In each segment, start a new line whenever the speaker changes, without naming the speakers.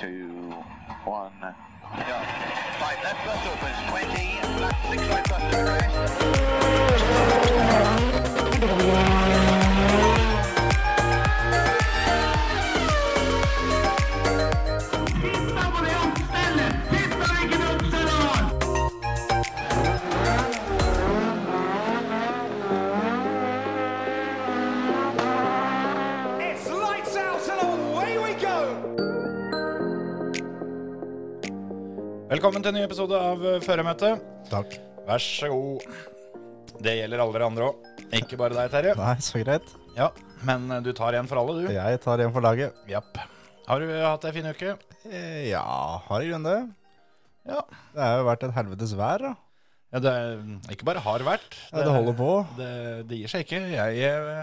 two, one. Yeah. Right, left bus opens 20, left six right bus to crest.
It's lights out and away we go!
Velkommen til en ny episode av eh, Føremøtet.
Takk.
Vær så god. Det gjelder alle dere andre òg. Ikke bare deg, Terje.
Nei, så greit.
Ja, Men eh, du tar en for alle, du.
Jeg tar en for laget.
Japp. Har du eh, hatt ei en fin uke?
Eh, Ja, har i grunnen det.
Ja.
Det har jo vært et helvetes vær, da.
ja det er- mm, ikke bare har vært.
Ja, det holder på.
Det, det gir seg ikke. Jeg eh,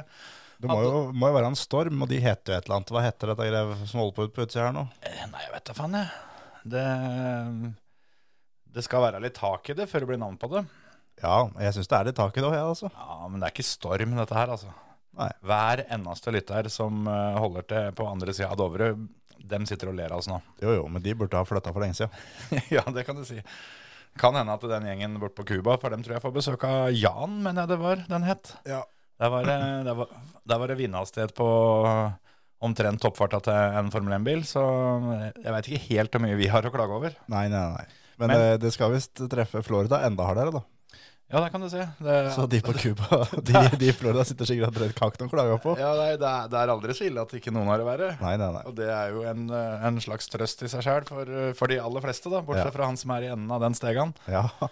Det må jo, må jo være en storm, og de heter jo et eller annet. Hva heter dette grevet som holder på ut på utsida her nå?
eh, Nei, jeg vet da faen, jeg. Det, mm, det skal være litt tak i det før det blir navn på det.
Ja, jeg syns det er litt tak i det òg, jeg, altså.
Ja, Men det er ikke storm, dette her, altså.
Nei.
Hver eneste lytter som eh, holder til på andre sida av Dovre, dem sitter og ler av oss nå.
Jo jo, men de burde ha flytta for lenge siden.
ja, det kan du si. Kan hende at den gjengen bort på Cuba, for dem tror jeg får besøk av Jan, mener jeg det var den het.
Ja.
Der var det, der var, der var det vindhastighet på omtrent toppfarta til en Formel 1-bil, så jeg veit ikke helt hvor mye vi har å klage over.
Nei, nei, nei. Men,
Men-
eh, det skal visst treffe Florida enda hardere, da.
Ja, der kan du se. Det,
Så de på Cuba, de, de i Florida sitter sikkert og drøyt kakten og klager på.
ja, nei, det, er, det er aldri så ille at ikke noen har det verre.
Nei, nei, nei.
Og det er jo en, eh, en slags trøst i seg sjøl for, eh, for de aller fleste, da, bortsett
Ja.
fra han som er i enden av den stegaen.
Ja.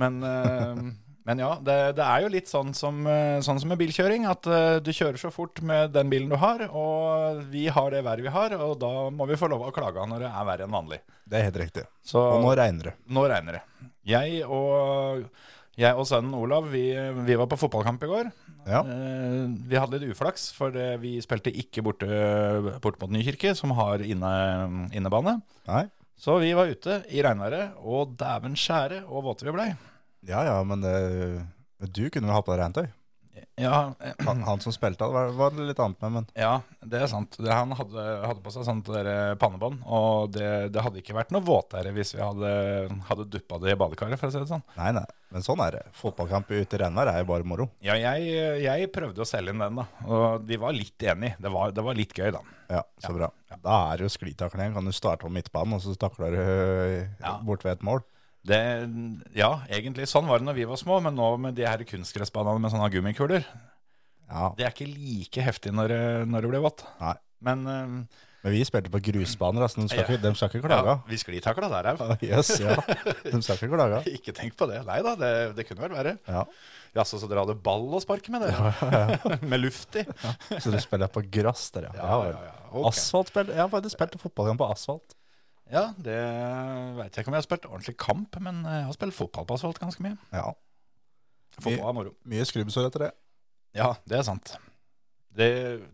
Men, eh, men ja, det, det er jo litt sånn som, eh, sånn som med bilkjøring, at eh, du kjører så fort med den bilen du har, og vi har det været vi har, og da må vi få lov å klage når det er verre enn vanlig.
Det er helt riktig.
Så
Og nå
nå,
regner det.
regner det. Jeg og, jeg og sønnen Olav, vi, vi var på fotballkamp i går.
Ja.
Eh, Vi hadde litt uflaks, for eh, vi spilte ikke borte, eh, borte mot Nykirke, som har inne, innebane.
Nei.
Så vi var ute i regnværet, og dæven skjære og våte vi blei.
Ja ja, men eh, du kunne vel ha på deg regntøy?
Ja, eh,
Han, han som spilte, det var, var det litt annet med, men
ja, det er sant. Det, han hadde, hadde på seg sånt der eh, pannebånd, og det, det hadde ikke vært noe våtere hvis vi hadde, hadde duppa det i badekaret, for å si det sånn.
nei, nei. Men sånn er det. Fotballkamp ute i regnvær er jo bare moro.
Ja, jeg, jeg prøvde å selge inn den, da, og vi var litt enige. Det var, det var litt gøy, da.
Ja, så bra. Da er det jo sklitakling. Kan du starte på midtbanen, og så takler du øh,
Ja.
bort ved et mål.
Det, ja, egentlig sånn var det når vi var små, men nå med de her kunstgressbanene med sånne gummikuler,
Ja,
det er ikke like heftig når, det- når det blir vått.
nei.
Men eh,
Men vi spilte på grusbaner, altså. De skal
Ja.
ikke, de skal ikke
ja,
klage.
vi sklitakla der òg.
Jøss, ja. De skal ikke klage.
Ikke tenk på det. Nei da, det, det kunne vært verre.
Ja.
Jaså, så dere hadde ball å sparke med, dere? med luft i?
Så du spiller på grass der, ja.
Ja,
vel.
ja, ja. Ok.
Asfalt spill- Jeg har faktisk spilt fotballkamp på asfalt.
Ja, det veit jeg ikke om jeg har spilt ordentlig kamp, men jeg har spilt fotball på asfalt ganske mye.
Ja.
Fotball er moro.
Mye skrubbsår etter det.
Ja, det er sant. Det,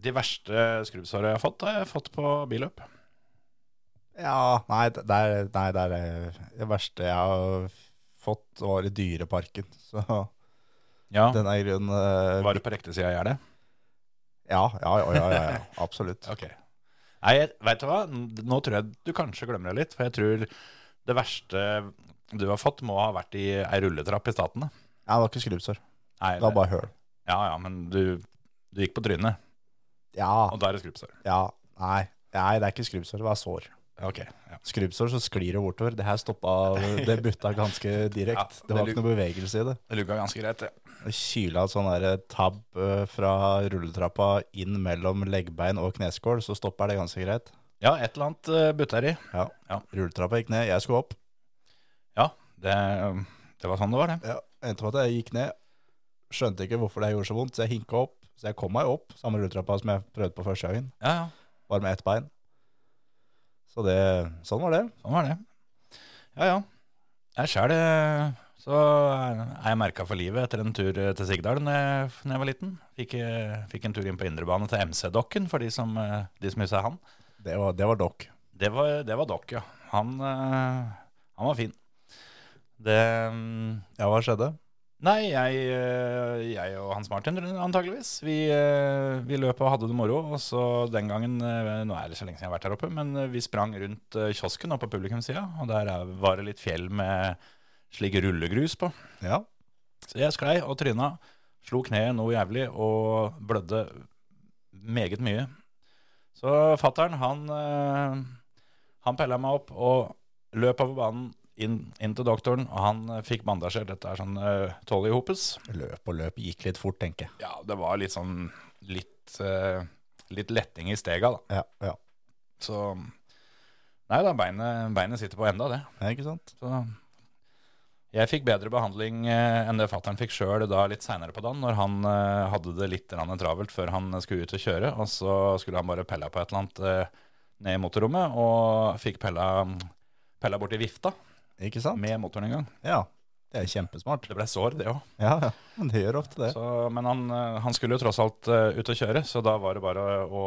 de verste skrubbsåra jeg har fått, har jeg fått på billøp.
Ja, nei, det det er, nei, det er eh, det verste jeg har fått var i dyreparken. Så
Ja,
den er i grunnen eh,
var det på riktig side av gjerdet?
Ja, ja, ja, ja, ja, ja. absolutt.
Ok. Nei, jeg- vet du hva? Nå tror jeg du kanskje glemmer det litt, for jeg tror det verste du har fått, må ha vært i ei rulletrapp i Statene.
Ja, det var ikke skrubbsår,
Nei,
det var bare høl.
Ja, ja, men du, du gikk på trynet,
Ja,
og da er det skrubbsår.
ja, nei, nei, det er ikke skrubbsår, det var sår.
Ok, ja.
Skrubbsår, så sklir det bortover. Det her stoppa, det butta ganske
Ja,
direkte.
det
Det var ikke
luk-
noe bevegelse i det.
Det lugga ganske greit, det.
Det kyla et sånn der tabb eh, fra rulletrappa inn mellom leggbein og kneskål, så stopper det ganske greit.
Ja, et eller annet uh, butta i.
Ja,
Ja.
rulletrappa gikk ned, jeg skulle opp.
Ja, det, um, det var sånn det var, det.
Ja, endte med at jeg gikk ned. Skjønte ikke hvorfor det gjorde så vondt, så jeg hinka opp. Så jeg kom meg opp, samme rulletrappa som jeg prøvde på første gangen.
Ja, ja,
bare med ett bein. Så det, sånn var det.
sånn var det. Ja, ja. Jeg sjæl så er jeg merka for livet etter en tur eh, til Sigdal da jeg, når jeg var liten. Fikk, eh, fikk en tur inn på indrebane til MC-dokken, for de som, eh, de som husker han.
Det var, det var dokk.
Det var, det var Doc, ja. Han, eh, han var fin. Det um,
Ja, hva skjedde?
Nei, jeg, eh, jeg og Hans Martin antageligvis. Vi, eh, vi løp og hadde det moro. Og så den gangen, eh, nå er det så lenge siden jeg har vært her oppe, men eh, vi sprang rundt eh, kiosken oppe på publikumssida, og der er- var det litt fjell med slik rullegrus på.
Ja.
Så jeg sklei og tryna, slo kneet noe jævlig og blødde meget mye. Så fattern, han, eh, han pella meg opp og løp over banen inn, inn til doktoren, og han eh, fikk bandasjer. Dette er sånn eh, tolv i hopus.
Løp og løp, gikk litt fort, tenker jeg.
Ja, det var litt sånn litt, eh, litt letting i stega, da.
Ja, ja.
Så Nei da, beinet, beinet sitter på enda, det.
Ja, Ikke sant?
Så jeg fikk bedre behandling eh, enn det fattern fikk sjøl da litt seinere på dagen, når han eh, hadde det litt grann travelt før han skulle ut og kjøre. Og så skulle han bare pella på et eller annet eh, ned i motorrommet, og fikk pella, pella borti vifta
Ikke sant?
med motoren en gang.
Ja. Det er kjempesmart.
Det ble sår, det òg.
Ja, ja. Men det gjør ofte det.
Men han, eh, han skulle jo tross alt eh, ut og kjøre, så da var det bare å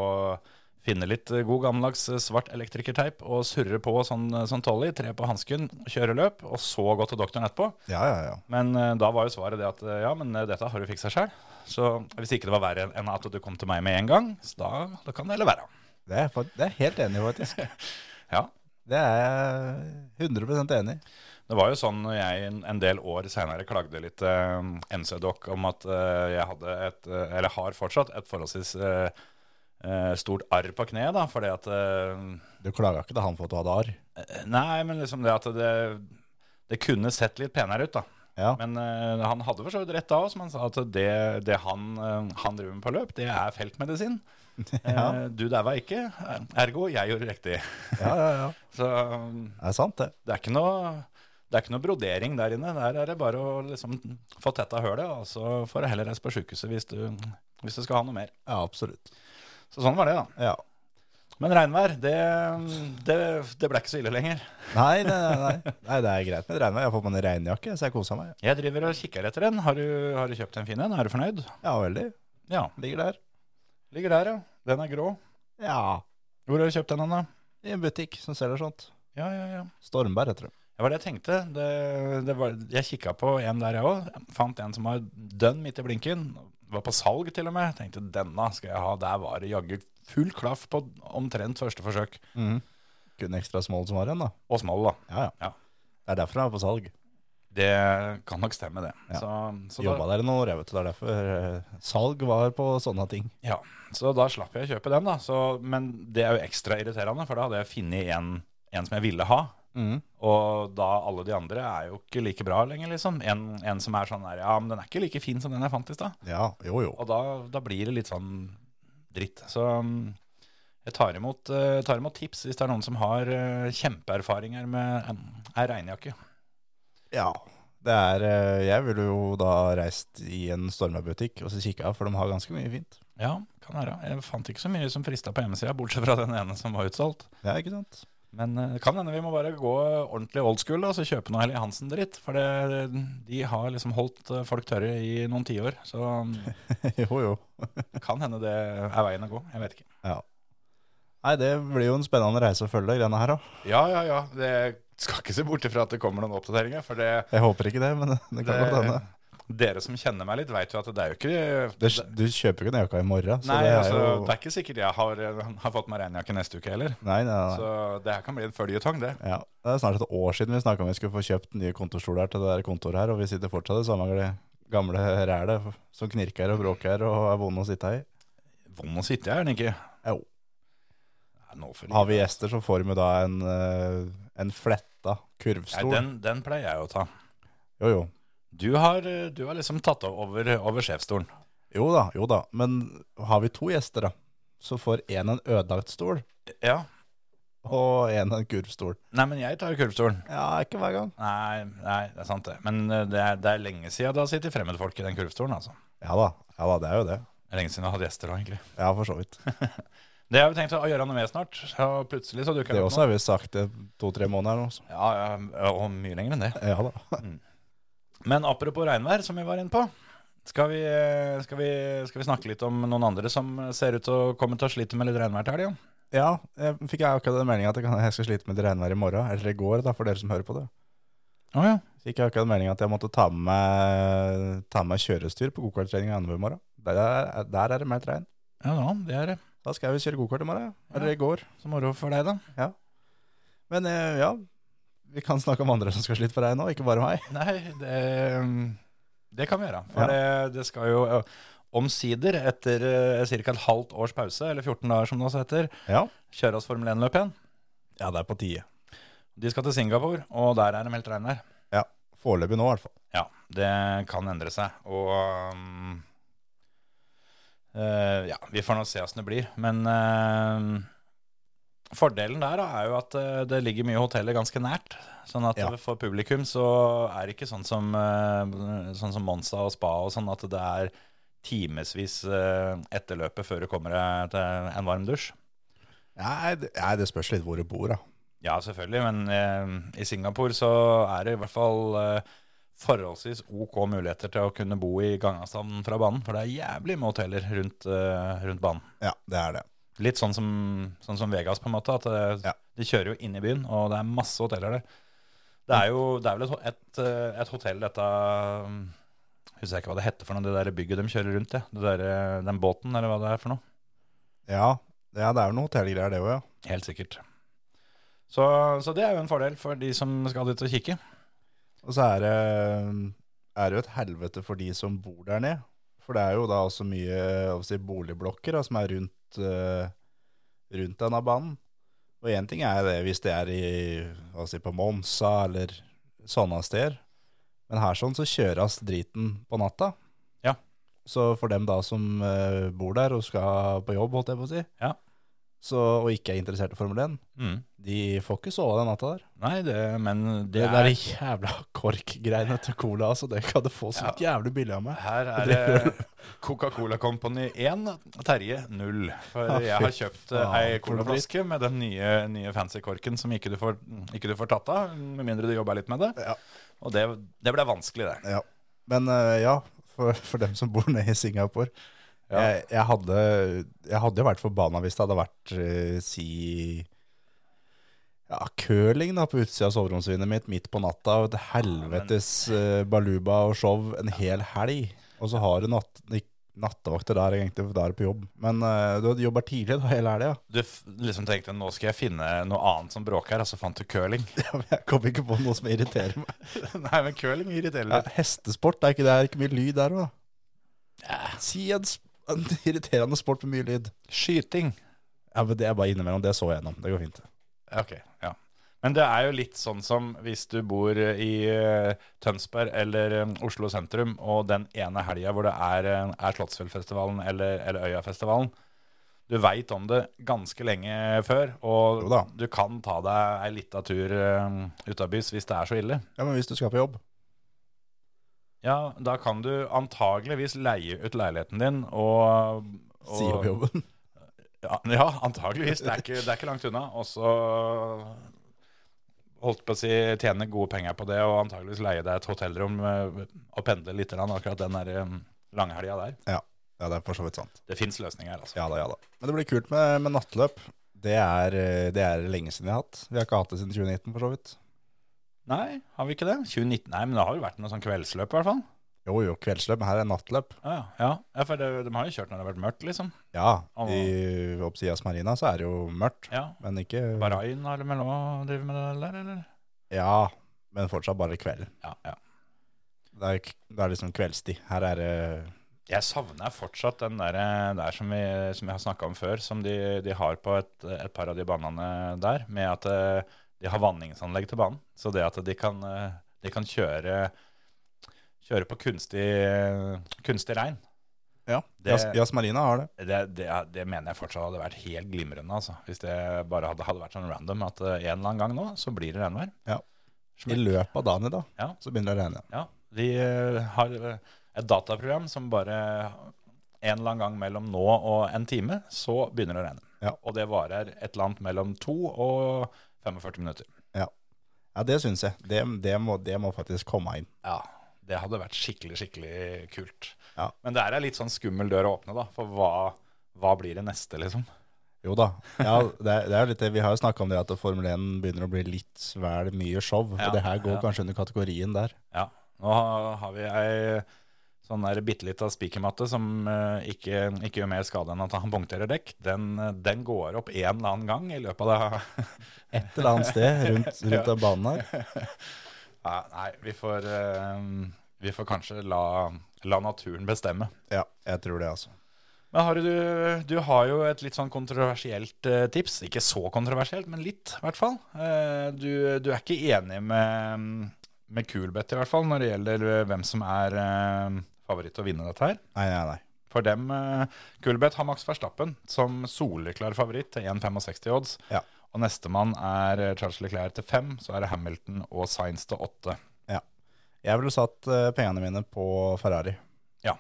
finne litt eh, god gammeldags eh, svart elektrikerteip og surre på sånn, sånn tolly, tre på hansken, kjøre løp, og så gå til doktoren etterpå.
Ja, ja, ja.
Men eh, da var jo svaret det at eh, ja, men eh, dette har du fiksa sjøl. Så hvis ikke det var verre enn at du kom til meg med en gang, så da, da kan det heller være.
Det er, fakt- det er jeg helt enig, i, faktisk.
Ja.
Det er jeg 100 enig i.
Det var jo sånn når jeg en- en del år seinere klagde litt eh, MC-dokk om at eh, jeg hadde et, eh, eller har fortsatt, et forholdsvis eh, eh, stort arr på kneet, da, fordi at eh,
Du klaga ikke til han for at du hadde arr.
Nei, men liksom det at det, det kunne sett litt penere ut, da.
Ja.
Men eh, han hadde for så vidt rett da også, men han sa at det, det han, eh, han driver med på løp, det er feltmedisin.
Ja.
Eh, du daua ikke, ergo jeg gjorde riktig.
ja, ja, ja.
Så um,
Det er sant, det.
det er ikke noe, det er ikke noe brodering der inne. Der er det bare å liksom få tetta hølet, og så får du heller reise på sjukehuset hvis, du- hvis du skal ha noe mer.
Ja, absolutt.
Så sånn var det, da.
Ja.
Men regnvær, det, det, det ble ikke så ille lenger.
Nei, nei, nei, nei. nei, det er greit med regnvær. Jeg har fått meg en regnjakke, så jeg koser meg.
Jeg driver og kikker etter en. Har du, har du kjøpt en fin en? Er du fornøyd?
Ja, veldig.
Ja.
Ligger der.
Ligger der, ja. Den er grå.
Ja,
Hvor har du kjøpt den, da?
i en butikk som selger sånt.
Ja, ja, ja.
Stormberg heter det.
Det var det jeg tenkte. Det, det var, jeg kikka på en der, jeg òg. Fant en som var dønn midt i blinken. Var på salg, til og med. Tenkte denne skal jeg ha. Der var det jaggu full klaff på omtrent første forsøk.
Mhm. Kun ekstra small som har en, da.
Og smal, da.
Ja, ja.
Ja.
Det er derfor den er på salg.
Det kan nok stemme, det.
Ja.
Så, så,
Jobba
da,
der i noen år, jeg vet du. Det er derfor eh, salg var på sånne ting.
ja, så da slapp jeg å kjøpe den, da. Så, men det er jo ekstra irriterende, for da hadde jeg funnet en, en som jeg ville ha. Og da alle de andre er jo ikke like bra lenger, liksom. En, en som er sånn der, ja, men den er ikke like fin som den jeg fant i stad.
Ja, jo, jo.
Og da, da blir det litt sånn dritt. Så um, jeg tar imot, eh, tar imot tips hvis det er noen som har eh, kjempeerfaringer med em, ei regnjakke.
Ja. Det er, eh, jeg ville jo da reist i en Stormberg-butikk og så kikka, for de har ganske mye fint.
Ja, kan være. Jeg fant ikke så mye som frista på hjemmesida, bortsett fra den ene som var utsolgt.
Ja, ikke sant?
Men eh, det kan hende vi må bare gå ordentlig old school da, og så kjøpe noe Helly Hansen-dritt. For det, de har liksom holdt eh, folk tørre i noen tiår. Så um,
jo, jo.
det kan hende det er veien å gå. Jeg vet ikke.
Ja. Nei, det blir jo en spennende reise å følge, greiene her òg.
Ja, ja, ja. Det skal ikke se bort ifra at det kommer noen oppdateringer. For det,
Jeg håper ikke det, men det kan godt hende.
dere som kjenner meg litt, veit jo at det er jo ikke
Det, du kjøper jo ikke den jakka i morgen, så
Nei,
det er
altså,
jo
det er ikke sikkert jeg har, eh, har fått meg regnjakke neste uke heller.
Nei, nei, nei.
Så det her kan bli en føljetong, det.
Ja, Det er snart et år siden vi snakka om vi skulle få kjøpt nye kontorstoler til det der kontoret her, og vi sitter fortsatt i samme gl- gamle rælet som knirker og bråker og er vonde å sitte i.
Vond å sitte her, Nikki.
Jo.
Nei, nå for-
Har vi gjester, så får vi da en, eh, en fletta
Nei,
kurvstol.
den, den pleier jeg å ta.
Jo, jo.
Du har, eh, du har liksom tatt over, over sjefsstolen.
Jo da, jo da. Men har vi to gjester, da, så får én en ødelagt stol
Ja.
og én en kurvstol.
Nei, men jeg tar kurvstolen.
Ja, ikke hver gang.
Nei, nei, det er sant det. Men eh, det er, det er lenge siden det har sittet fremmedfolk i den kurvstolen, altså.
Ja da, ja da, det er jo det.
Det er Lenge siden jeg har hatt gjester da, egentlig.
Ja, for så vidt.
Det har vi tenkt å gjøre noe med snart. Og plutselig så dukker
Det
opp
også har vi sagt i to-tre måneder nå. så.
noe. Ja, ja, og mye lenger enn det.
Ja da.
Men apropos regnvær, som vi var inne på. Skal vi, skal, vi, skal vi snakke litt om noen andre som ser ut til å komme til å slite med litt regnvær til helga?
Ja, jeg fikk jeg akkurat den meldinga at jeg kan- jeg skal slite med det regnværet i morgen. Eller i går, da, for dere som hører på det.
Å ja.
Så gikk jeg akkurat meldinga at jeg måtte ta med meg, ta med meg kjørestyr på gokarttrening i Andeby i morgen. Der, er- der er det mer regn.
Ja da, det er
Da skal jeg jo kjøre gokart i morgen. ja. Eller i går.
så moro for deg, da.
Men eh, ja, vi kan snakke om andre som skal slite på regn nå, ikke bare meg.
Nei, det, det kan vi gjøre. For
Ja.
det, det skal jo ø, omsider, etter ca. et halvt års pause, eller 14 dager som det også heter,
Ja.
kjøre oss Formel 1-løp igjen.
ja, det er på tide.
De skal til Singapore, og der er de helt regnvær.
Ja, Foreløpig nå, i hvert fall.
Ja, det kan endre seg. Og um, eh, ja, vi får nå se åssen det blir. Men eh, fordelen der da, er jo at eh, det ligger mye hoteller ganske nært. Sånn at
Ja.
for publikum så er det ikke sånn som, eh, sånn som Monza og Spa og sånn at det er timevis eh, etter løpet før du kommer deg til en varm dusj.
Nei, det, nei, det spørs litt hvor du bor, da.
Ja, selvfølgelig, men eh, i Singapore så er det i hvert fall eh, forholdsvis ok muligheter til å kunne bo i gangavstanden fra banen, for det er jævlig med hoteller rundt, eh, rundt banen.
Ja, det er det.
Litt sånn som, sånn som Vegas, på en måte, at eh,
Ja.
de kjører jo inn i byen, og det er masse hoteller der. Det er jo det er vel et, ho- et, eh, et hotell, dette mm, Husker jeg ikke hva det heter for noe, det der bygget de kjører rundt i. Det der, eh, den båten, eller hva det er for noe.
Ja, ja det er jo noen hotellgreier, det òg, ja.
Helt sikkert. Så, så det er jo en fordel for de som skal dit og kikke.
Og så er det, er det jo et helvete for de som bor der nede. For det er jo da også mye hva skal jeg si, boligblokker da, som er rundt, eh, rundt denne banen. Og én ting er det hvis det er i, hva skal jeg si, på Monsa eller sånne steder. Men her sånn så kjøres driten på natta.
Ja.
Så for dem da som eh, bor der og skal på jobb, holdt jeg på å si,
Ja.
så, og ikke er interessert i Formel 1,
Mm.
de får ikke sove den natta der.
Nei, det, men det,
Det,
er,
der jævla korkgreiene til cola, altså, det kan du få så jævlig billig av meg.
Her er det Coca-Cola Company 1, Terje 0. For
Ja,
jeg har kjøpt eh,
faen,
ei colaflaske med den nye, nye fancy korken som ikke du, får, ikke du får tatt av, med mindre du jobber litt med det.
Ja.
Og det, det ble vanskelig, det.
Ja. Men eh, ja, for, for dem som bor nede i Singapore.
Ja.
Jeg, jeg, hadde, jeg hadde jo vært forbanna hvis det hadde vært, eh, si ja, curling da, på utsida av soveromsvinduet mitt midt på natta, og et helvetes eh, baluba og show en hel helg. Og så har du natt, ikke nattevakter der, egentlig, for da er du på jobb. Men eh, du jobber tidlig da hele helga.
Du f liksom tenkte nå skal jeg finne noe annet som bråker, og så fant du curling.
Ja, men jeg kom ikke på noe som irriterer meg.
Nei, men curling irriterer
Ja,
litt.
hestesport, det er ikke, det er ikke mye lyd der òg, da. Si en, sp- en irriterende sport med mye lyd.
Skyting.
Ja, men Det er bare innimellom. Det så jeg gjennom. Det går fint.
Ok, ja. Men det er jo litt sånn som hvis du bor i eh, Tønsberg eller eh, Oslo sentrum, og den ene helga hvor det er, eh, er Slottsfjellfestivalen eller, eller Øyafestivalen, du veit om det ganske lenge før,
Jo
og
da.
du kan ta deg ei lita tur eh, ut av bys hvis det er så ille.
Ja, Men hvis du skal på jobb
Ja, da kan du antageligvis leie ut leiligheten din og, og
Si opp jobben.
Ja, ja antageligvis. Det er, ikke, det er ikke langt unna. Og så holdt på å si tjene gode penger på det, og antageligvis leie deg et hotellrom eh, og pendle litt grann akkurat den der eh, langhelga der.
Ja, ja det er for så vidt sant.
Det fins løsninger, altså.
Ja da, ja da. Men det blir kult med, med nattløp. Det er, eh, det er lenge siden jeg har hatt. Vi har ikke hatt det siden 2019, for så vidt.
Nei, har vi ikke det? 2019? Nei, men det har jo vært noe sånn kveldsløp, i hvert fall.
Jo jo, kveldsløp. Men her er nattløp.
Ja, ja. ja for det, de har jo kjørt når det har vært mørkt, liksom.
Ja, i Oppsias Marina så er det jo mørkt.
Ja.
Men ikke
Bahrain har vel også drevet med det der, eller?
Ja, men fortsatt bare kveld.
Ja, ja.
Det er, k- det er liksom kveldstid. Her er det
Jeg savner fortsatt den der, eh, der som, vi, som jeg har snakka om før, som de, de har på et, et par av de banene der, med at eh, de har vanningsanlegg til banen. Så det at de kan, eh, de kan kjøre, kjøre på kunstig, kunstig regn,
Ja,
Det-
Jas Jas Marina har det.
det, det, det mener jeg fortsatt hadde vært helt glimrende. Altså. Hvis det bare hadde, hadde vært sånn random at eh, en eller annen gang nå, så blir det regnvær.
Ja. I
Smekk.
løpet av dagen i dag
Ja.
så begynner det å regne.
Ja, de eh, har eh, et dataprogram som bare en eller annen gang mellom nå og en time, så begynner det å regne.
Ja.
Og det varer et eller annet mellom to og 45 minutter.
Ja, det syns jeg. Det, det, må, det må faktisk komme inn.
Ja, det hadde vært skikkelig, skikkelig kult.
Ja.
Men det er en litt sånn skummel dør å åpne, da, for hva, hva blir det neste, liksom?
Jo da. Ja, det er, det er jo litt det. Vi har jo snakka om det at Formel 1 begynner å bli litt vel mye show.
Ja,
og det her går
ja.
kanskje under kategorien der.
Ja. Nå ha- har vi ei sånn der bitte lita spikermatte som eh, ikke, ikke gjør mer skade enn at han punkterer dekk. Den, eh, den går opp en eller annen gang i løpet av det.
Et eller annet sted rundt, rundt den banen her.
Nei, nei, vi får, eh, vi får kanskje la, la naturen bestemme.
Ja, jeg tror det, altså.
Men har du, du har jo et litt sånn kontroversielt eh, tips. Ikke så kontroversielt, men litt, i hvert fall. Eh, du, du er ikke enig med, med Kulbeth, i hvert fall, når det gjelder eh, hvem som er eh, favoritt til å vinne dette her.
Nei, nei, nei.
For dem eh, Kulbeth har Max Verstappen som soleklar favoritt til 1,65 odds.
Ja.
Og nestemann er eh, Charles Leclerc til 5, så er det Hamilton og Sainz til 8.
Ja. Jeg ville satt eh, pengene mine på Ferrari.
Ja.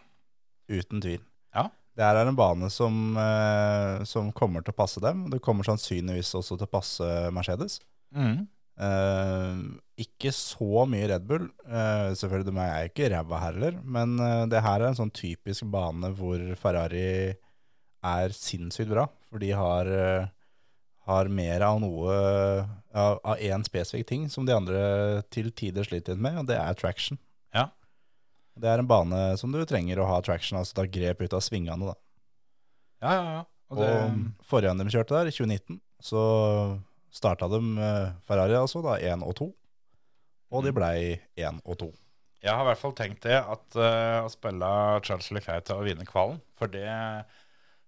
Uten tvil.
Ja.
Det her er en bane som, eh, som kommer til å passe dem. Det kommer sannsynligvis også til å passe Mercedes.
Mm.
Eh, ikke så mye Red Bull. Eh, selvfølgelig, de er ikke ræva heller, men eh, det her er en sånn typisk bane hvor Ferrari er sinnssykt bra. For de har, eh, har mer av noe av- av én spesifikk ting som de andre til tider sliter litt med, og det er traction.
Ja.
Det er en bane som du trenger å ha traction, altså ta grep ut av svingene. da.
Ja, ja, ja. Og um, det,
Og forrige gang de kjørte der, i 2019, så starta de eh, Ferrari altså, da, 1 og 2. Og de blei 1 og 2.
Jeg har i hvert fall tenkt det, at eh, å spille Charles Leclerc til å vinne kvalen. For det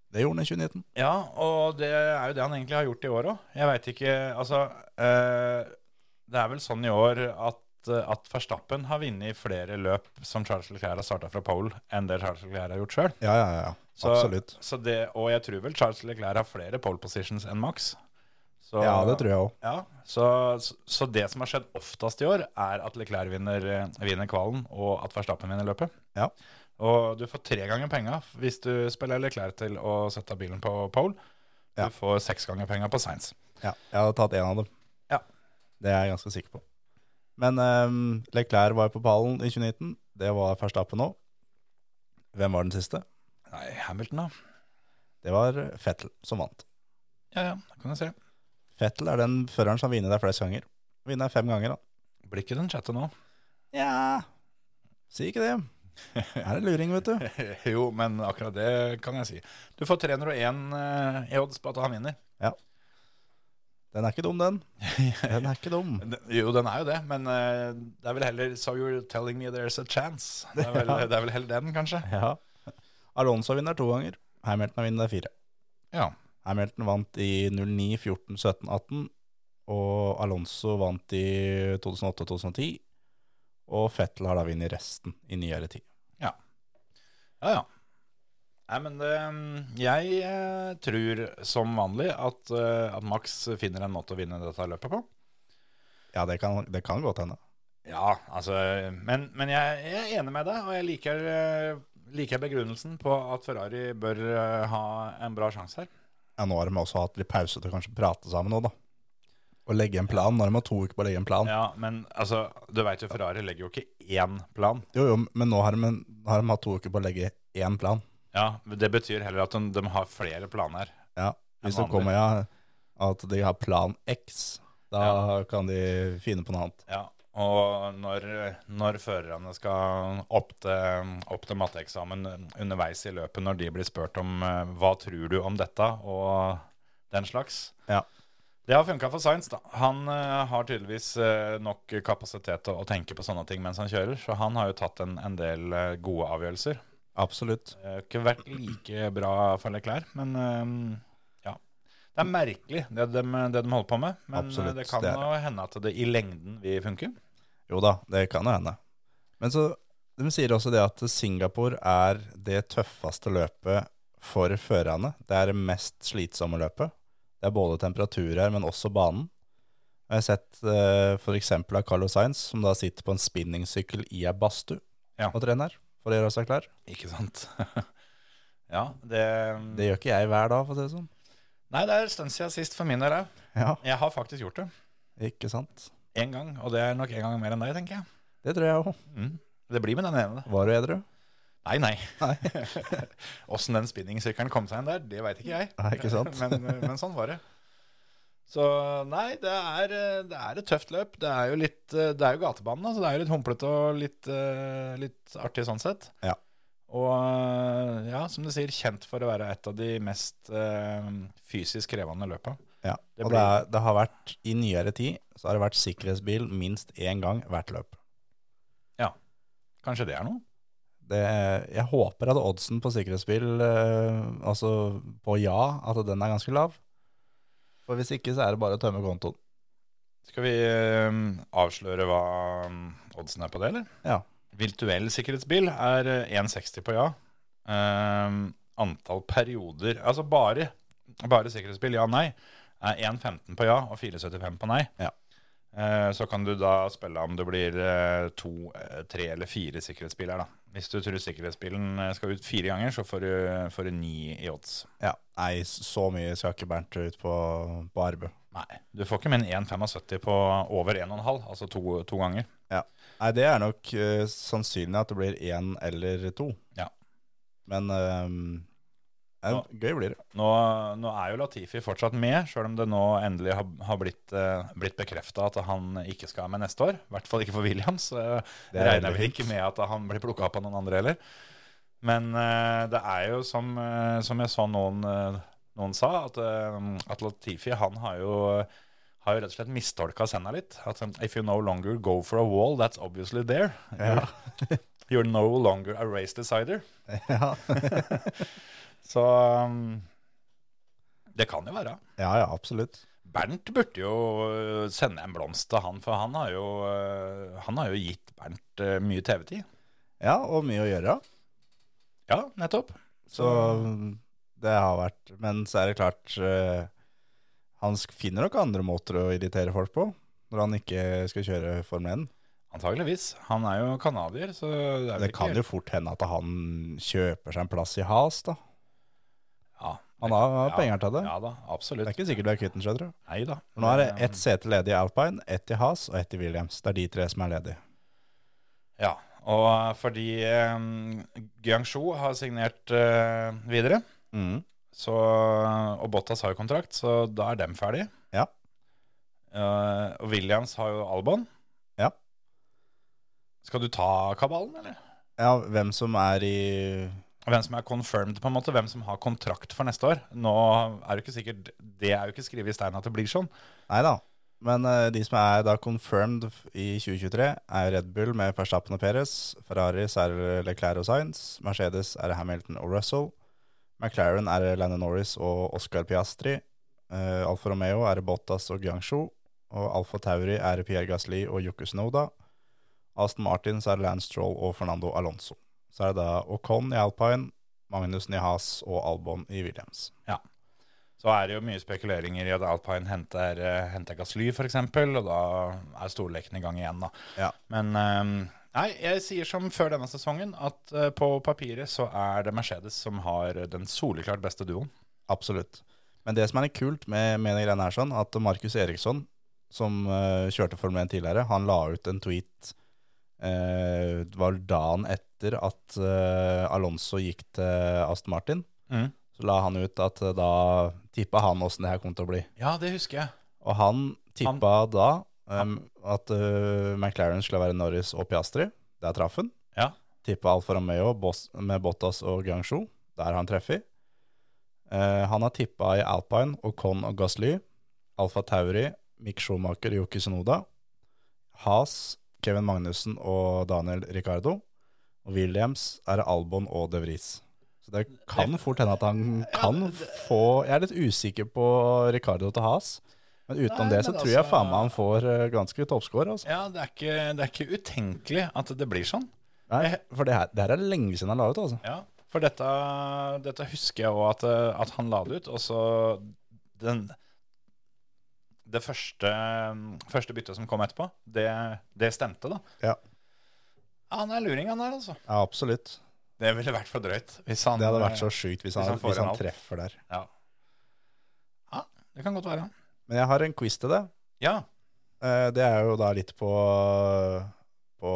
Det gjorde de i 2019.
Ja, og det er jo det han egentlig har gjort i år òg. Jeg veit ikke Altså, eh, det er vel sånn i år at, eh, at Verstappen har vunnet flere løp som Charles Leclerc har starta fra pole, enn det Charles Leclerc har gjort sjøl.
Ja, ja, ja.
Så-
Absolutt.
Så det- Og jeg tror vel Charles Leclerc har flere pole positions enn Max. Så,
Ja, det tror jeg òg.
Ja, så, så det som har skjedd oftest i år, er at Leclerc vinner, eh, vinner kvalen, og at Verstappen vinner løpet.
Ja.
Og du får tre ganger penga hvis du spiller Leclerc til å sette bilen på pole. Du
Ja.
får seks ganger penga på Sainz.
Ja, jeg hadde tatt én av dem.
Ja.
Det er jeg ganske sikker på. Men ehm, Leclerc var på pallen i 2019. Det var Verstappen òg. Hvem var den siste?
Nei, Hamilton, da.
Det var Fettel som vant.
Ja, ja, da kan du se.
Fettel er den føreren som har vunnet der flest ganger. Vinner fem ganger, han.
Blir ikke den sjette nå?
Ja Si ikke det. Her er luring, vet du.
jo, men akkurat det kan jeg si. Du får 301 eh, i odds på at han vinner.
Den er ikke dum, den. Den er ikke dum.
Den- Jo, den er jo det, men eh, det er vel heller So you're telling me there's a chance. Det er vel,
Ja.
det er vel heller den, kanskje.
Ja. Alonso vinner to ganger. Hamilton har vunnet fire.
Ja.
Hamilton vant i 09, 14, 17, 18. Og Alonso vant i 2008 og 2010. Og Fettel har da vunnet resten i nyere tid.
Ja, ja. Nei, men det, jeg eh, tror som vanlig at, eh, at Max finner en måte å vinne dette løpet på.
Ja, det kan, det kan godt hende.
Ja, altså Men, men jeg, jeg er enig med deg, og jeg liker, eh, liker begrunnelsen på at Ferrari bør eh, ha en bra sjanse her.
Ja, nå har de også hatt litt pause til å kanskje prate sammen nå, da. Og legge en plan. Nå har de hatt to uker på å legge en plan.
Ja, men altså, du veit jo Ferrari legger jo ikke én plan.
Jo, jo, men nå har de, en- har de hatt to uker på å legge én plan.
Ja, Det betyr heller at de, de har flere planer.
Ja,
En
hvis det
vanlig.
kommer ja, at de har plan X, da kan de finne på noe annet.
Ja, og når, når førerne skal opp til, opp til matteeksamen underveis i løpet, når de blir spurt om eh, hva tror du om dette og den slags
Ja.
Det har funka for Sainz. da. Han eh, har tydeligvis eh, nok kapasitet til å tenke på sånne ting mens han kjører, så han har jo tatt en, en del eh, gode avgjørelser.
Absolutt.
Det har ikke vært like bra for Leclerc, men eh, ja. Det er merkelig det de, det de holder på med, men eh,
Absolutt,
det kan
det er
jo hende at det i lengden vil funke.
Jo da, det kan jo hende. Men så, de sier også det at Singapore er det tøffeste løpet for førerne. Det er det mest slitsomme løpet. Det er både temperatur her, men også banen. Og Jeg har sett eh, for eksempel av Carlos Sainz, som da sitter på en spinningsykkel i ei badstue
Ja.
og trener for å gjøre seg klar.
Ikke sant? ja, det,
Det gjør ikke jeg hver dag, for å si det sånn.
Nei, det er en stund siden sist for min del òg.
Ja,
Jeg har faktisk gjort det
ikke sant?
én gang, og det er nok én gang mer enn deg, tenker jeg.
Det tror jeg òg.
Det blir med den ene.
Var du edru?
Nei, nei. Åssen den spinningsykkelen kom seg inn der, det veit ikke jeg.
Nei, ikke sant?
men, men sånn var det. Så nei, det er, eh, det er et tøft løp. Det er jo litt eh, Det er jo gatebanen, da, så det er jo litt humplete og litt, eh, litt artig sånn sett.
Ja.
Og eh, ja, som du sier, kjent for å være et av de mest eh, fysisk krevende løpa.
Ja,
Det
og det,
blir-
er, det har vært, I nyere tid så har det vært sikkerhetsbil minst én gang hvert løp.
Kanskje det er noe?
Det, jeg håper at oddsen på sikkerhetsbil, eh, altså på ja, at den er ganske lav. For hvis ikke, så er det bare å tømme kontoen.
Skal vi eh, avsløre hva mm, oddsen er på det, eller?
Ja.
Virtuell sikkerhetsbil er eh, 1,60 på ja. Ehm, antall perioder Altså bare, bare sikkerhetsbil, ja nei, er 1,15 på ja og 4,75 på nei.
Ja.
Eh, så kan du da spille om det blir eh, to, eh, tre eller fire sikkerhetsbiler, da. Hvis du tror sikkerhetsbilen eh, skal ut fire ganger, så får du, får du ni i odds.
Ja, Nei, så mye skal ikke Bernt ut på, på arbeid.
Nei, du får ikke mer enn 1,75 på over 1,5, altså to, to ganger.
Nei, det er nok eh, sannsynlig at det blir én eller to.
Ja.
Men eh,
Ja.
gøy blir det.
Nå, nå er jo Latifi fortsatt med, sjøl om det nå endelig har, har blitt, eh, blitt bekrefta at han ikke skal være med neste år. I hvert fall ikke for Williams. Uh,
Det er
regner
veldig
vel
fint.
ikke med at han blir plukka opp av noen andre heller. Men eh, det er jo som, eh, som jeg så noen, eh, noen sa, at, eh, at Latifi han har jo, har jo rett og slett mistolka senda litt. At um, if you no longer go for a wall, that's obviously there. You're, you're no longer a race decider.
Ja.
Så um, det kan jo være.
ja, ja, absolutt.
Bernt burde jo øh, sende en blomst til han, for han har jo, øh, han har jo gitt Bernt øh, mye TV-tid.
Ja, og mye å gjøre.
Ja, nettopp.
Så det har vært Men så er det klart eh, Han sk- finner nok andre måter å irritere folk på når han ikke skal kjøre Formel 1.
Antageligvis. Han er jo kanadier, så det er vel
Det kan jo
ikke
fort hende at han kjøper seg en plass i Has, da.
ja,
Han har
ja,
penger til det.
Ja da,
Det
absolutt.
er ikke sikkert du er kvitt den, skjønner du.
Nei da.
For nå er det ett sete ledig i Alpine, ett i Has og ett i Williams. Det er de tre som er ledige.
Ja, og øh, fordi um, Guangzhou har signert øh, videre,
Mm.
så, øh, og Bottas har jo kontrakt, så da er dem ferdige.
Ja.
Eh, og Williams har jo Albon.
Ja.
Skal du ta kabalen, eller?
ja, hvem som er i
Hvem som er confirmed, på en måte, hvem som har kontrakt for neste år. Nå er det ikke sikkert Det er jo ikke skrevet i stein at det blir sånn.
Nei da. Men eh, de som er da confirmed f- i 2023, er Red Bull med Verstappen og Perez. Ferraris er det Leclerc og Sainz. Mercedes er det Hamilton og Russell. McLaren er det Lennon Norris og Oscar Piastri. Eh, Alfa Romeo er det Bottas og Guangzhou. Og Alfa Tauri er det Pierre Gasli og Yuki Tsunoda. Aston Martin så er det Lance Stroll og Fernando Alonso. Så er det da Ocon i Alpine, Magnussen i Haas og Albon i Williams.
Så er det jo mye spekuleringer i at Alpine henter, eh, henter Gasly, f.eks., og da er storleken i gang igjen, da.
Ja.
Men eh, nei, jeg sier som før denne sesongen, at eh, på papiret så er det Mercedes som har den soleklart beste duoen.
Absolutt. Men det som er litt kult med, med de greiene her, sånn, at Markus Eriksson, som eh, kjørte Formel 1 tidligere, han la ut en tweet eh, det var dagen etter at eh, Alonso gikk til Aston Martin.
Mhm.
Så la han ut at eh, da tippa han åssen det her kom til å bli.
Ja, det husker jeg.
Og han tippa da em, Ehm, at eh, McLaren skulle være Norris og Piastri. Der traff han.
Ja.
Tippa Alfa Romeo Bos- med Bottas og Guangzhou. Der har han treffet. Eh, han har tippa i Alpine og Con og Gasly. Alfa Tauri, Mick Schumacher og Yuki Sonoda. Haas, Kevin Magnussen og Daniel Ricardo. Og Williams er det Albon og De Vries. Så det kan fort hende at han kan få Jeg er litt usikker på Ricardo til Haas. Men utenom
Nei,
det så
men
tror jeg
altså-
faen meg han får eh, ganske toppscore. Altså.
Ja, det er ikke, det er ikke utenkelig at det blir sånn.
Nei, for det her, det her er lenge siden han la ut, altså.
Ja, for dette, dette husker jeg òg at, eh, at han la det ut. Og så den Det første, første byttet som kom etterpå, det, det stemte, da.
Ja.
Ja, han er luring, han der, altså.
Ja, absolutt.
Det ville vært for drøyt. Hvis han,
Det hadde vært så sjukt eh, hvis han,
han
hvis
får
han,
en alt.
treffer der.
Ja. ja, det kan godt være.
Men jeg har en quiz til deg.
Ja.
Eh, Det er jo da litt på på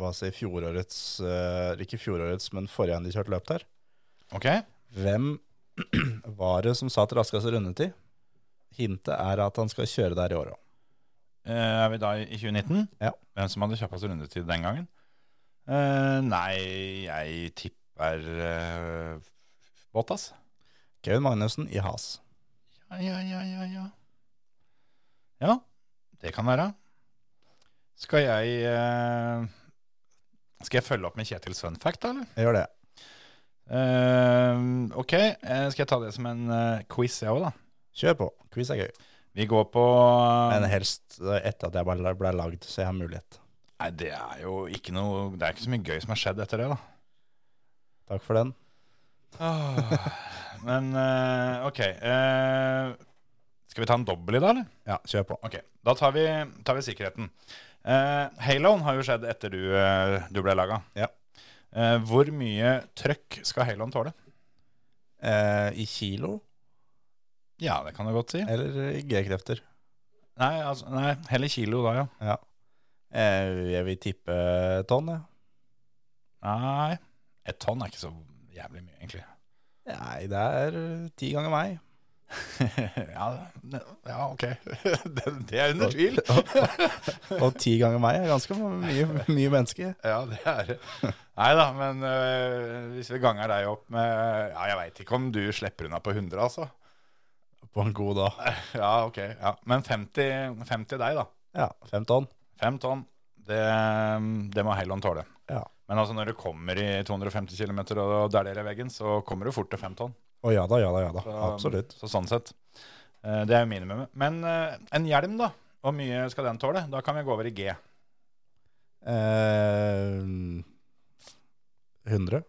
hva si, fjorårets eh, Ikke fjorårets, men forrige gang de kjørte løp der.
Ok, Eh,
Hvem var det som satt raskest rundetid? Hintet er at han skal kjøre der i år òg.
Eh, er vi da i 2019?
Ja.
Hvem som hadde kjappest rundetid den gangen? Eh, nei, jeg tipper eh, Bottas.
Kevin Magnussen i Has.
Ja, ja, ja, ja, ja. Ja, det kan være. Skal jeg eh, Skal jeg følge opp med Kjetils fun fact, da, eller?
Jeg gjør det.
Eh, ok, eh, skal jeg ta det som en eh, quiz, jeg òg, da?
Kjør på. Quiz er gøy.
Vi går på
Men helst eh, etter at jeg ble ble lagd, så jeg har mulighet.
Nei, det er jo ikke noe Det er ikke så mye gøy som har skjedd etter det, da.
Takk for den.
Åh, Men eh, ok eh, Skal vi ta en dobbel i dag, eller?
Ja, kjør på.
Ok, da tar vi, tar vi sikkerheten uh, Haloen har jo skjedd etter du, eh, du ble laget
Ja.
Eh, Hvor mye trøkk skal Haloen tåle?
Eh, I kilo
Ja, det kan du godt si
eller i G-krefter?
Eh, Nei, altså, nei heller kilo da, ja
Ja. Eh, jeg vil tippe tonn, jeg.
Nei, et tonn er ikke så jævlig mye egentlig
Ja. Nei, det er eh, ti ganger meg.
ja, det- ja, ok det, det er under tvil
Og ti ganger meg er ganske mye, mye menneske.
Ja, det er det. Nei da, men øh, hvis vi ganger deg opp med Ja, jeg veit ikke om du slipper unna på 100, altså.
På en god dag.
Ja, ok. Ja. Men 50, 50 deg, da.
Ja, fem tonn.
Fem tonn. Det, det må Hellon tåle.
Ja.
Men altså, når du kommer i 250 km og dæljer i veggen, så kommer du fort til fem tonn.
Å ja da, ja da, ja da.
Så,
Absolutt.
Så sånn sett. eh, Det er jo minimumet. Men eh, en hjelm, da. Hvor mye skal den tåle? Da kan vi gå over i G.
Eh, 100?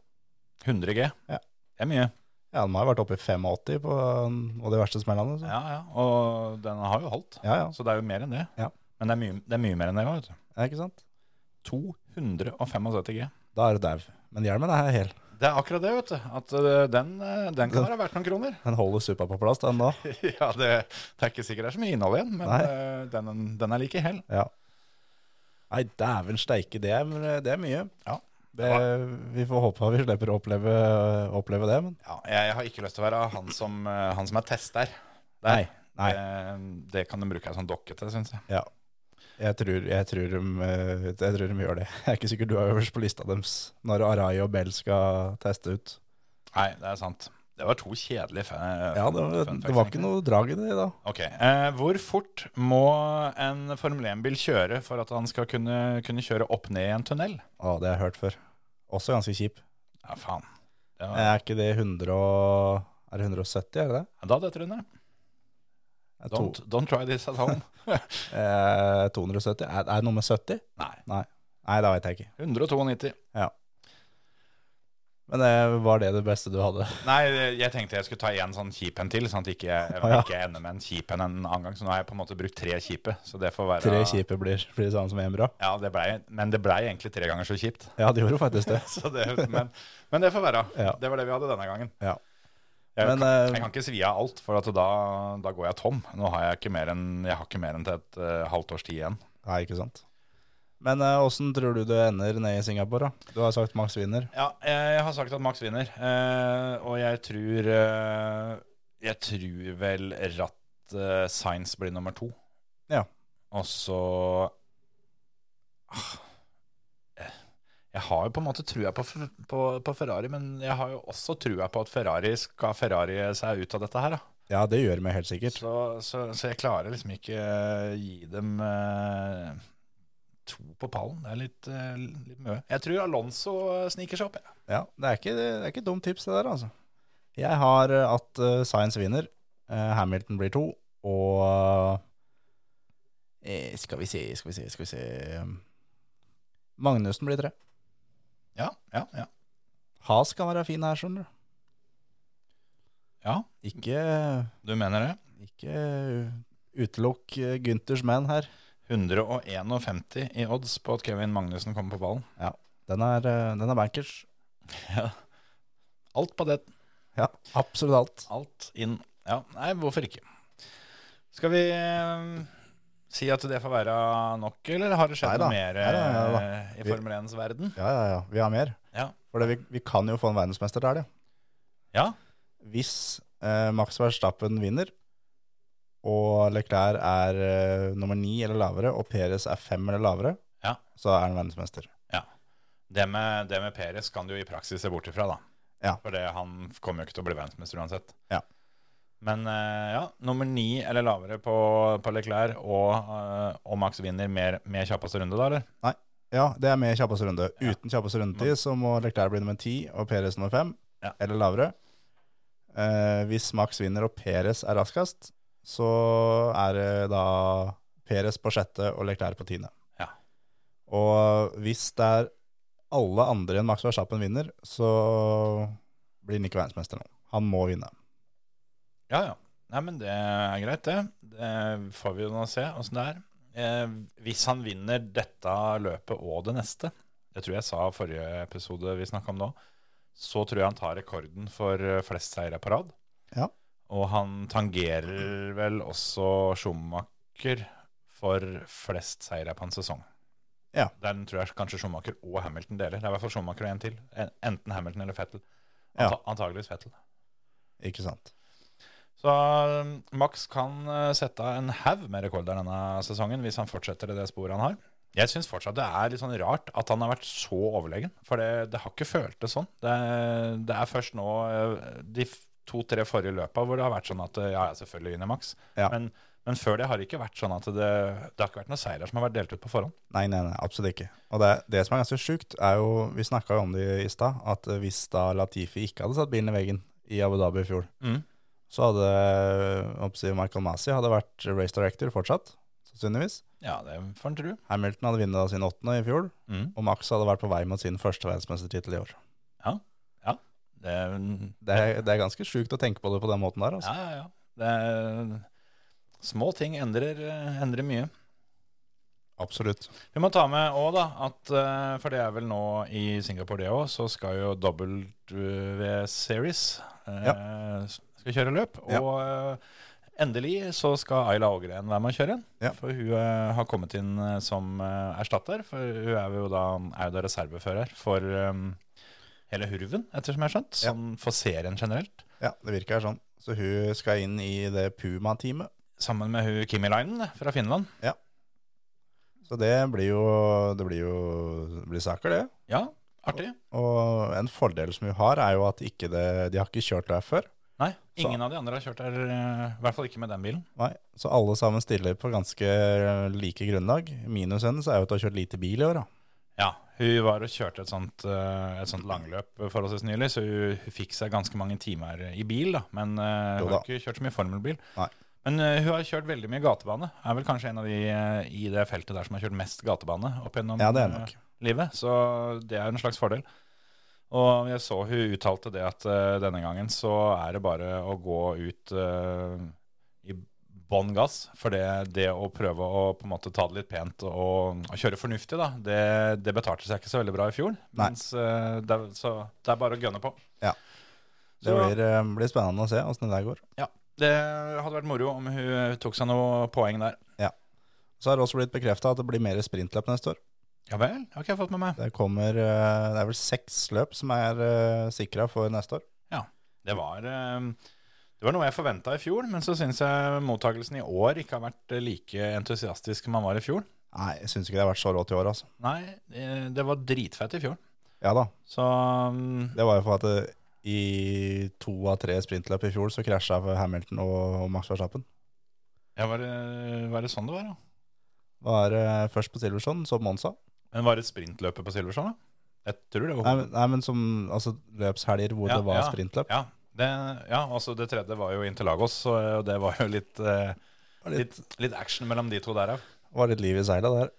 100 G.
Ja.
Det er mye.
Ja, den har vært oppe i 85 på og de verste smellene. Så.
Ja, ja. Og den har jo holdt.
Ja, ja.
Så det er jo mer enn det.
Ja.
Men det er, mye, det er mye mer enn det òg, vet du.
ja, ikke sant?
275 G.
Da er du dau. Men hjelmen er hel.
Det er akkurat det, vet du. At eh, den, eh, den kan være verdt noen kroner.
Den holder suppa på plass, den da.
ja, det, det er ikke sikkert det er så mye innhold igjen, men
Nei.
eh, den, den er like hell.
Ja. Nei, dæven steike, det er, det er mye.
Ja.
Det, vi får håpe at vi slipper å oppleve, oppleve det, men
Ja, jeg, jeg har ikke lyst til å være han som, eh, han som er tester.
Nei, nei.
Det, det kan de bruke ei sånn dokke til, syns jeg.
ja. Jeg tror, jeg, tror de, eh, jeg tror de gjør det. Jeg er ikke sikker du er øverst på lista deres når Arai og Bell skal teste ut.
Nei, det er sant. Det var to kjedelige fe-
Ja, det
fun
var,
facts,
det
egentlig.
var ikke noe drag i det da.
Ok, eh, Hvor fort må en Formel 1-bil kjøre for at han skal kunne, kunne kjøre opp ned i en tunnel?
Å, det har jeg hørt før. Også ganske kjip.
Ja, faen. Det var,
Er ikke det 100 og, er det 170, er det det?
Da detter hun ned.
Er det
Don't,
to-
don't try this at home.
Eh, 270? Er, er det noe med 70?
Nei.
Nei, det vet jeg ikke.
192.
Men eh, var det det beste du hadde?
Nei, jeg tenkte jeg skulle ta en sånn kjip en til, sånn at ikke jeg
Å, ja.
ikke jeg ender med en kjip en en annen gang. Så nå har jeg på en måte brukt tre kjipe. Så det får være
Tre kjipe blir, blir det samme som én bra.
Ja, det ble, men det blei egentlig tre ganger så kjipt.
Ja, det gjorde faktisk det.
Så det, men, men det får være.
Ja.
Det var det vi hadde denne gangen.
Ja.
Jeg,
Men,
kan,
eh,
jeg kan ikke svi av alt, for at da, da går jeg tom. Nå har jeg ikke mer enn, jeg har ikke mer enn til et eh, halvt års tid igjen.
Nei, ikke sant. Men eh, åssen tror du det ender nede i Singapore? da? Du har sagt Max vinner.
Ja, jeg har sagt at Max vinner, eh, og jeg tror eh, Jeg tror vel Ratt eh, Science blir nummer to.
Ja.
Og så Ah, eh, Jeg har jo på en måte trua på, Fer- på, på Ferrari, men jeg har jo også trua på at Ferrari skal Ferrari seg ut av dette her. Da.
Ja, det gjør vi helt sikkert.
Så, så, så jeg klarer liksom ikke eh, gi dem eh, to på pallen. Det er litt, eh, litt mye. Jeg tror Alonso eh, sniker seg opp. jeg.
Ja, Det er ikke, det er ikke et dumt tips, det der, altså. Jeg har eh, at eh, Science vinner, eh, Hamilton blir to, og eh, Skal vi se, skal vi se, skal vi se eh, Magnussen blir tre.
Ja, ja, ja.
Has kan være fin her, skjønner du.
Ja,
Ikke,
du mener det.
ikke utelukk eh, Günthers menn her.
151 i odds på at Kevin Magnussen kommer på ballen.
Den er, eh, den er bankers.
Alt på det.
Ja, absolutt alt.
Alt inn. Ja, nei, hvorfor ikke? Skal vi eh, Si at det får være nok, eller har det skjedd
Neida.
noe mer eh,
Neida,
i
Vi-
Formel 1s verden?
Ja, ja, ja. Vi har mer.
Ja.
For det, vi, vi kan jo få en verdensmester der, det.
Ja,
Hvis eh, Max Verstappen vinner, og Leclerc er eh, nummer ni eller lavere, og Perez er fem eller lavere,
Ja.
så er han verdensmester.
det med, det med Peres kan du jo i praksis se bort ifra, da.
Ja.
For det, han kommer jo ikke til å bli verdensmester uansett.
Ja.
Men eh, ja, nummer ni eller lavere på, på Leclerc, og, eh, og Max vinner mer med kjappeste runde, da, eller?
Ja, det er med i kjappeste runde. Uten kjappeste rundetid så må Leclerc bli nummer ti og Perez nummer fem
Ja.
eller lavere. Eh, hvis Max vinner og Perez er raskest, så er det da Perez på sjette og Leclerc på tiende.
Ja.
Og hvis det er alle andre enn Max Verstappen vinner, så blir han ikke verdensmester nå. Han må vinne.
Ja, ja. Nei, men det er greit, det. Det får vi jo nå se åssen det er. Eh, hvis han vinner dette løpet og det neste, det tror jeg sa i forrige episode vi snakka om nå, så tror jeg han tar rekorden for eh, flest seire på rad.
Ja.
Og han tangerer vel også Schumacher for flest seire på en sesong.
Ja.
Den tror jeg kanskje Schumacher og Hamilton deler. Det er i hvert fall Schumacher og en til. En- Enten Hamilton eller Fettel.
Ja.
Anta antageligvis Fettel.
Ikke sant?
Så um, Max kan uh, sette en haug med rekorder denne sesongen hvis han fortsetter i det sporet han har. Jeg syns fortsatt det er litt sånn rart at han har vært så overlegen. For det, det har ikke føltes sånn. Det, det er først nå, uh, de f- to-tre forrige løpa, hvor det har vært sånn at uh, ja, ja, selvfølgelig vinner Max.
Ja.
Men, men før det har det ikke vært sånn at det, det har ikke vært noen seirer som har vært delt ut på forhånd.
Nei, nei, nei, absolutt ikke. Og det, det som er ganske sjukt, er jo Vi snakka jo om det i stad, at hvis da Latifi ikke hadde satt bilen i veggen i Abu Dhabi i fjor,
Mm.
så hadde oppsiden Michael Masi hadde vært race director fortsatt, sannsynligvis.
Ja, det får en tro.
Hamilton hadde vunnet da sin åttende i fjor,
Mm.
og Max hadde vært på vei mot sin første verdensmestertittel i år.
Det,
Det er, det er ganske sjukt å tenke på det på den måten der, altså.
ja, ja, ja. Det, små ting endrer, eh, endrer mye.
Absolutt.
Vi må ta med òg, da, at eh, for det er vel nå i Singapore, det òg, så skal jo W-series eh, skal kjøre løp.
Ja.
Og eh, endelig så skal Ayla Ågren være med å kjøre.
Ja.
For hun eh, har kommet inn eh, som eh, erstatter. For hun er jo da, er jo da reservefører for eh, hele Hurven, ettersom jeg har skjønt.
Ja.
Sånn for serien generelt.
Ja, det virker sånn. Så hun skal inn i det Puma-teamet.
Sammen med hun Kimi Lainen fra Finland.
Så det blir jo Det blir jo det blir saker, det.
Ja, artig.
Og en fordel som vi har, er jo at ikke det, de har ikke kjørt der før.
Nei, ingen av de andre har kjørt der, eh, i hvert fall ikke med den bilen.
Nei, Så alle sammen stiller på ganske like grunnlag. Minus en så er jo at de har kjørt lite bil i år, da.
Ja, hun var og kjørte et sånt, eh, et sånt langløp forholdsvis nylig, så hun, hun fikk seg ganske mange timer i bil, da. men eh,
Jo
hun har
da.
ikke kjørt så mye formelbil.
Nei.
Men eh, hun har kjørt veldig mye gatebane. Er vel kanskje en av de eh, i det feltet der som har kjørt mest gatebane opp gjennom
Ja, det er
eh,
nok.
livet, så det er en slags fordel. Og jeg så hun uttalte det at eh, denne gangen så er det bare å gå ut eh, i bånn gass. For det, det å prøve å på en måte ta det litt pent og, og kjøre fornuftig, da, det, det betalte seg ikke så veldig bra i fjor.
Nei.
Mens, eh, det, er- så det er bare å gønne på.
Ja. Det
Så-
blir, eh, blir spennende å se åssen det der går.
ja, det hadde vært moro om hun tok seg noe poeng der.
Så har det også blitt bekrefta at det blir mer sprintløp neste år.
Ja vel, har ikke jeg fått med meg.
Det kommer eh, Det er vel seks løp som er sikra for neste år.
Det var, eh, det var noe jeg forventa i fjor, men så syns jeg mottakelsen i år ikke har vært eh, like entusiastisk som man var i fjor.
Nei, jeg syns ikke det har vært så rått i år, altså.
Nei, eh, det var dritfett i fjor.
Ja da.
Så mm,
Det var jo for at eh, i to av tre sprintløp i fjor så krasja Hamilton og Max Verstappen.
ja, var, det, var det sånn det var, ja?
Var eh, først på Silverstone, så på Monza.
Men var det sprintløpet på Silverstone, da? Jeg tror det.
Nei,
Var,
men- nei, men som altså, løpshelger hvor
Ja,
det var
ja,
sprintløp.
ja, det, ja, altså det tredje var jo Interlagos, så eh, det var jo litt, eh,
Var litt,
litt, litt action mellom de to der òg.
var litt liv i seila der.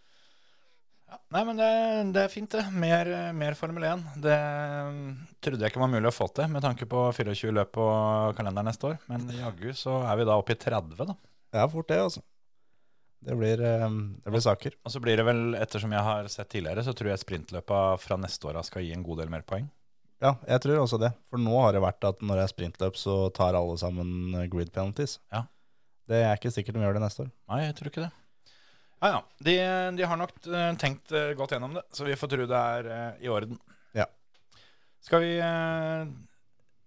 Ja, Nei, men det, det er fint, det. Mer, mer Formel 1. Det mm, trodde jeg ikke var mulig å få til med tanke på 24 løp på kalenderen neste år. Men jaggu så er vi da oppe i 30, da.
Det er fort det, altså. Det blir, eh, det blir saker.
Og så blir det vel, ettersom jeg har sett tidligere, så tror jeg sprintløpa fra neste år av skal gi en god del mer poeng.
Ja, jeg tror også det. For nå har det vært at når det er sprintløp, så tar alle sammen eh, grid penalties.
Ja.
Det er ikke sikkert de gjør det neste år.
Nei, jeg tror ikke det. Ja, ja. De, de har nok eh, tenkt eh, godt gjennom det, så vi får tro det er eh, i orden.
Ja.
Skal vi eh,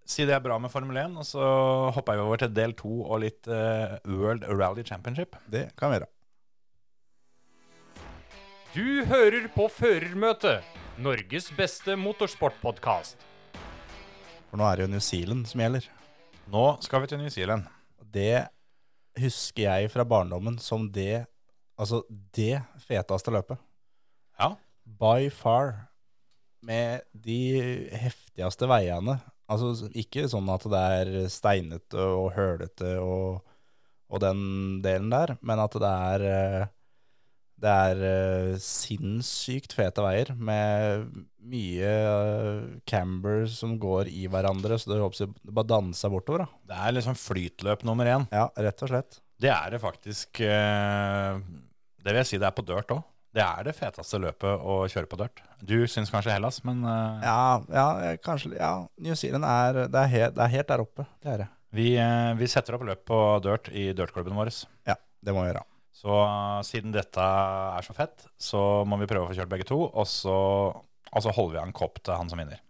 si det er bra med Formel 1, og så hopper vi over til del 2 og litt eh, World Rally Championship.
Det kan være.
Du hører på Førermøtet, Norges beste motorsportpodkast.
For nå er det jo New Zealand som gjelder.
Nå skal vi til New Zealand.
Og Det husker jeg fra barndommen som det Altså det feteste løpet.
Ja.
By far. Med de heftigste veiene. Altså ikke sånn at det er steinete og hølete og, og den delen der, men at det er eh, det er eh, sinnssykt fete veier med mye eh, camber som går i hverandre, så det, det bare danser bortover. da.
Det er liksom flytløp nummer én.
Ja, rett og slett.
Det er det faktisk eh, Det vil jeg si det er på dirt òg. Det er det feteste løpet å kjøre på dirt. Du syns kanskje Hellas, men eh,
Ja, ja, jeg- kanskje Ja, New Zealand er det er, helt, det er helt der oppe. Det er det.
vi, eh, vi setter opp løp på dirt i dirtklubben vår.
Ja, det må vi gjøre.
Så eh, siden dette er så fett, så må vi prøve å få kjørt begge to, og så, og så holder vi av en kopp til han som vinner.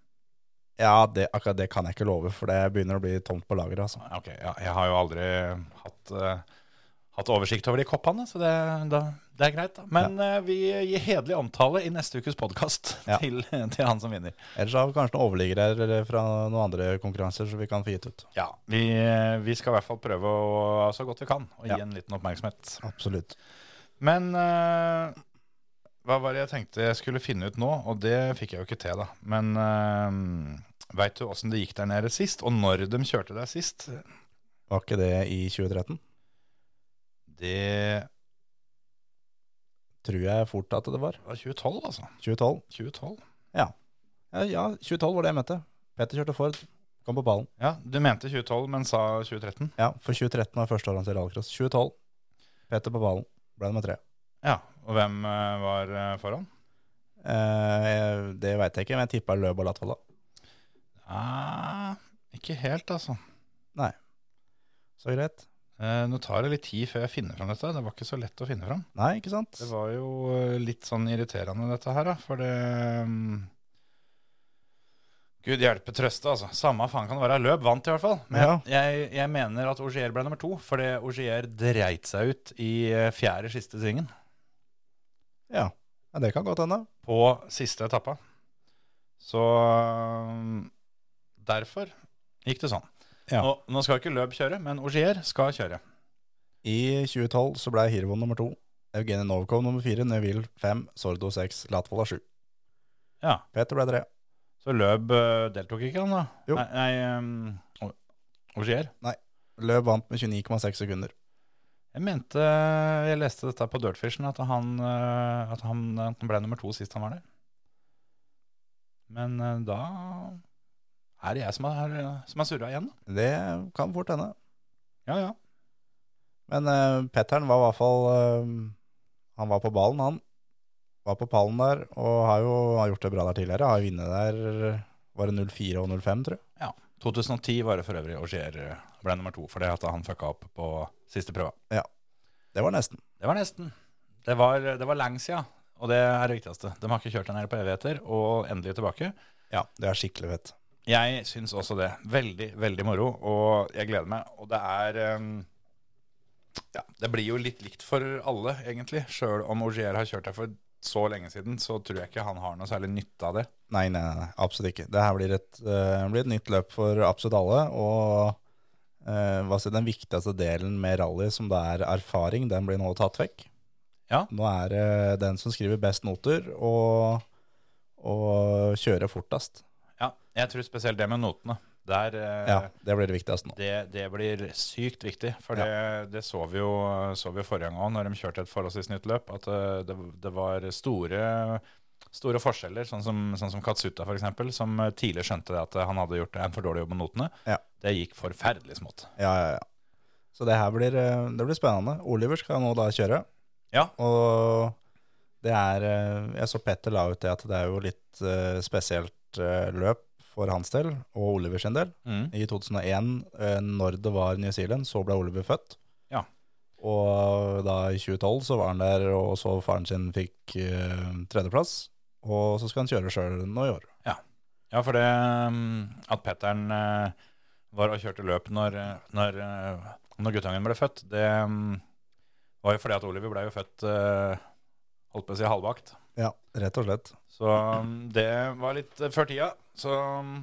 Ja, det, akkurat det kan jeg ikke love, for det begynner å bli tomt på lageret. Altså.
Ok, ja, Jeg har jo aldri hatt, eh, hatt oversikt over de koppene, så det, da, det er greit. da. Men eh, vi gir hederlig omtale i neste ukes podkast
Ja.
til, til han som vinner.
Ellers har vi kanskje noen overliggere fra noen andre konkurranser som vi kan få gitt ut.
Ja, vi, eh, vi skal i hvert fall prøve å, så godt vi kan å
Ja.
gi en liten oppmerksomhet.
Absolutt.
Men eh, hva var det jeg tenkte jeg skulle finne ut nå, og det fikk jeg jo ikke til, da. Men uh, veit du åssen det gikk der nede sist, og når de kjørte der sist?
Var ikke det i 2013?
Det
Tror jeg fort at det var.
var 2012, altså.
2012.
2012.
Ja, ja 2012 var det jeg mente. Petter kjørte Ford. Kom på ballen.
Ja, du mente 2012, men sa 2013.
Ja, for 2013 var første året hans i rallycross. 2012. Petter på ballen. Ble nummer tre.
Ja, og hvem eh, var eh, foran?
Eh, det veit jeg ikke, men jeg tippa Løb og Latvala.
Ah, ikke helt, altså.
Så greit.
Eh, nå tar det litt tid før jeg finner fram dette. Det var ikke så lett å finne fram.
Nei, ikke sant?
Det var jo eh, litt sånn irriterende dette her, da, for det mm, Gud hjelpe trøste, altså. Samme faen kan det være. Løp vant i hvert fall. Men
Ja.
jeg, jeg mener at Ogier ble nummer to, fordi Ogier dreit seg ut i eh, fjerde siste svingen
Ja. ja, det kan godt hende.
på siste etappa. Så mm, derfor gikk det sånn.
Ja.
Nå, nå skal ikke Løb kjøre, men Ogier skal kjøre.
I 2012 så ble Hirvon nummer to, Evgenij Novkov nummer fire, Neville fem, Sordo seks, Latvala sju.
Ja.
Peter ble tre.
Så Løb eh, deltok ikke, han da?
Jo.
Nei, nei mm, O- Ogier.
Løb vant med 29,6 sekunder.
Jeg mente Jeg leste dette på Dirtfishen, at han, eh, at han eh, ble nummer to sist han var der. Men eh, da er det jeg som er, som er surra igjen, da.
Det kan fort hende.
Ja, ja.
Men eh, Petteren var i hvert fall eh, Han var på ballen, han. Var på pallen der, og har jo har gjort det bra der tidligere. Har jo vunnet der Var det 04 og 05, tror jeg.
2010 var det for øvrig Ogier eh, ble nummer to fordi at han fucka opp på siste prøva.
Det var nesten.
Det var nesten. Det var, det var lenge sia, og det er det viktigste. De har ikke kjørt den her på evigheter, og endelig tilbake.
Ja, det er skikkelig fett.
Jeg syns også det. Veldig, veldig moro, og jeg gleder meg. Og det er ehm, Ja, det blir jo litt likt for alle, egentlig. Sjøl om Ogier har kjørt her for så lenge siden, så tror jeg ikke han har noe særlig nytte av det.
Nei, nei, nei, nei, absolutt ikke. Det her blir et, eh, blir et nytt løp for absolutt alle. Og eh, hva skal jeg si, den viktigste delen med rally, som det er erfaring, den blir nå tatt vekk.
Ja.
Nå er det den som skriver best noter, og, og kjører fortest.
Ja, jeg tror spesielt det med notene. Der, eh,
Ja, det blir det viktigste nå.
det, det blir sykt viktig, for det, det så vi jo så vi jo forrige gang òg, når de kjørte et forholdsvis nytt løp, at eh, det, det var store Store forskjeller, sånn som, sånn som Katsuta f.eks., som tidlig skjønte det at han hadde gjort en for dårlig jobb med notene.
Ja.
Det gikk forferdelig smått.
Ja, ja, ja. Så det her blir, eh, det blir spennende. Oliver skal nå da kjøre.
Ja.
Og det er eh, Jeg så Petter la ut det at det er jo litt eh, spesielt eh, løp for hans del, og Oliver sin del.
Mm.
I 2001, eh, når det var New Zealand, så ble Oliver født.
Ja.
Og da i 2012 så var han der og så faren sin fikk eh, tredjeplass. Og så skal han kjøre sjøl nå i år.
Ja, for det um, at Petteren eh, var og kjørte løp når, eh, når, eh, når guttungen ble født, det um, var jo fordi at Oliver ble jo født eh, holdt på å si halvvakt.
Ja, rett og slett.
Så um, det var litt eh, før tida. Så um,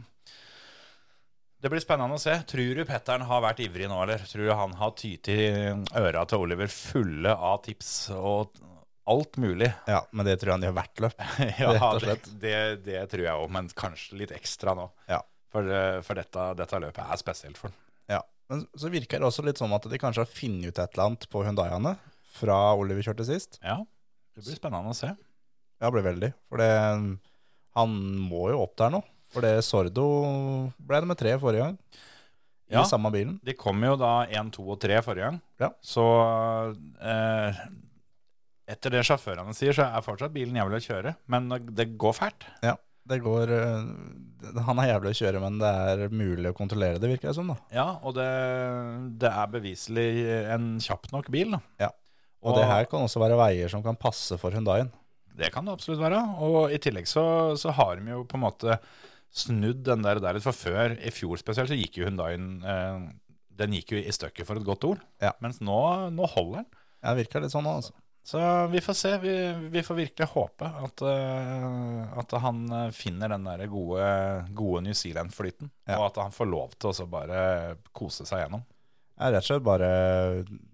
det blir spennende å se. Tror du Petteren har vært ivrig nå, eller? Tror du han har tyt i øra til Oliver fulle av tips og alt mulig?
Ja, men det tror jeg han gjør hvert løp.
Ja,
Rett og slett.
Det, det, det tror jeg òg, men kanskje litt ekstra nå.
Ja.
For, eh, for dette, dette løpet er spesielt for ham.
Ja, Men så virker det også litt som at de kanskje har funnet ut et eller annet på Hundaiene fra Oliver kjørte sist.
Ja, det blir spennende å se.
Ja, det ble veldig. For det, mm, han må jo opp der nå. For det Sordo ble nummer tre forrige gang. I
Ja.
samme bilen.
De kom jo da 1, 2 og 3 forrige gang.
Ja.
Så eh, etter det sjåførene sier, så er fortsatt bilen jævlig å kjøre. Men det går fælt.
Ja, det går øh, Han er jævlig å kjøre, men det er mulig å kontrollere det, virker det som. da.
Ja, og det, det er beviselig en kjapp nok bil. Da.
Ja. Og,
Og-
det her kan også være veier som kan passe for Hundaien.
Det kan det absolutt være. Og i tillegg så, så har de jo på en måte snudd den der, der litt. For før, i fjor spesielt, så gikk jo Hundaien eh, Den gikk jo i støkket for et godt ord.
Ja.
Mens nå, nå holder den.
Ja, det virker litt sånn nå, altså.
Så vi får se. Vi, vi får virkelig håpe at, eh, at han eh, finner den der gode, gode New Zealand-flyten.
Ja.
Og at han får lov til å så bare kose seg gjennom.
Jeg er rett og slett bare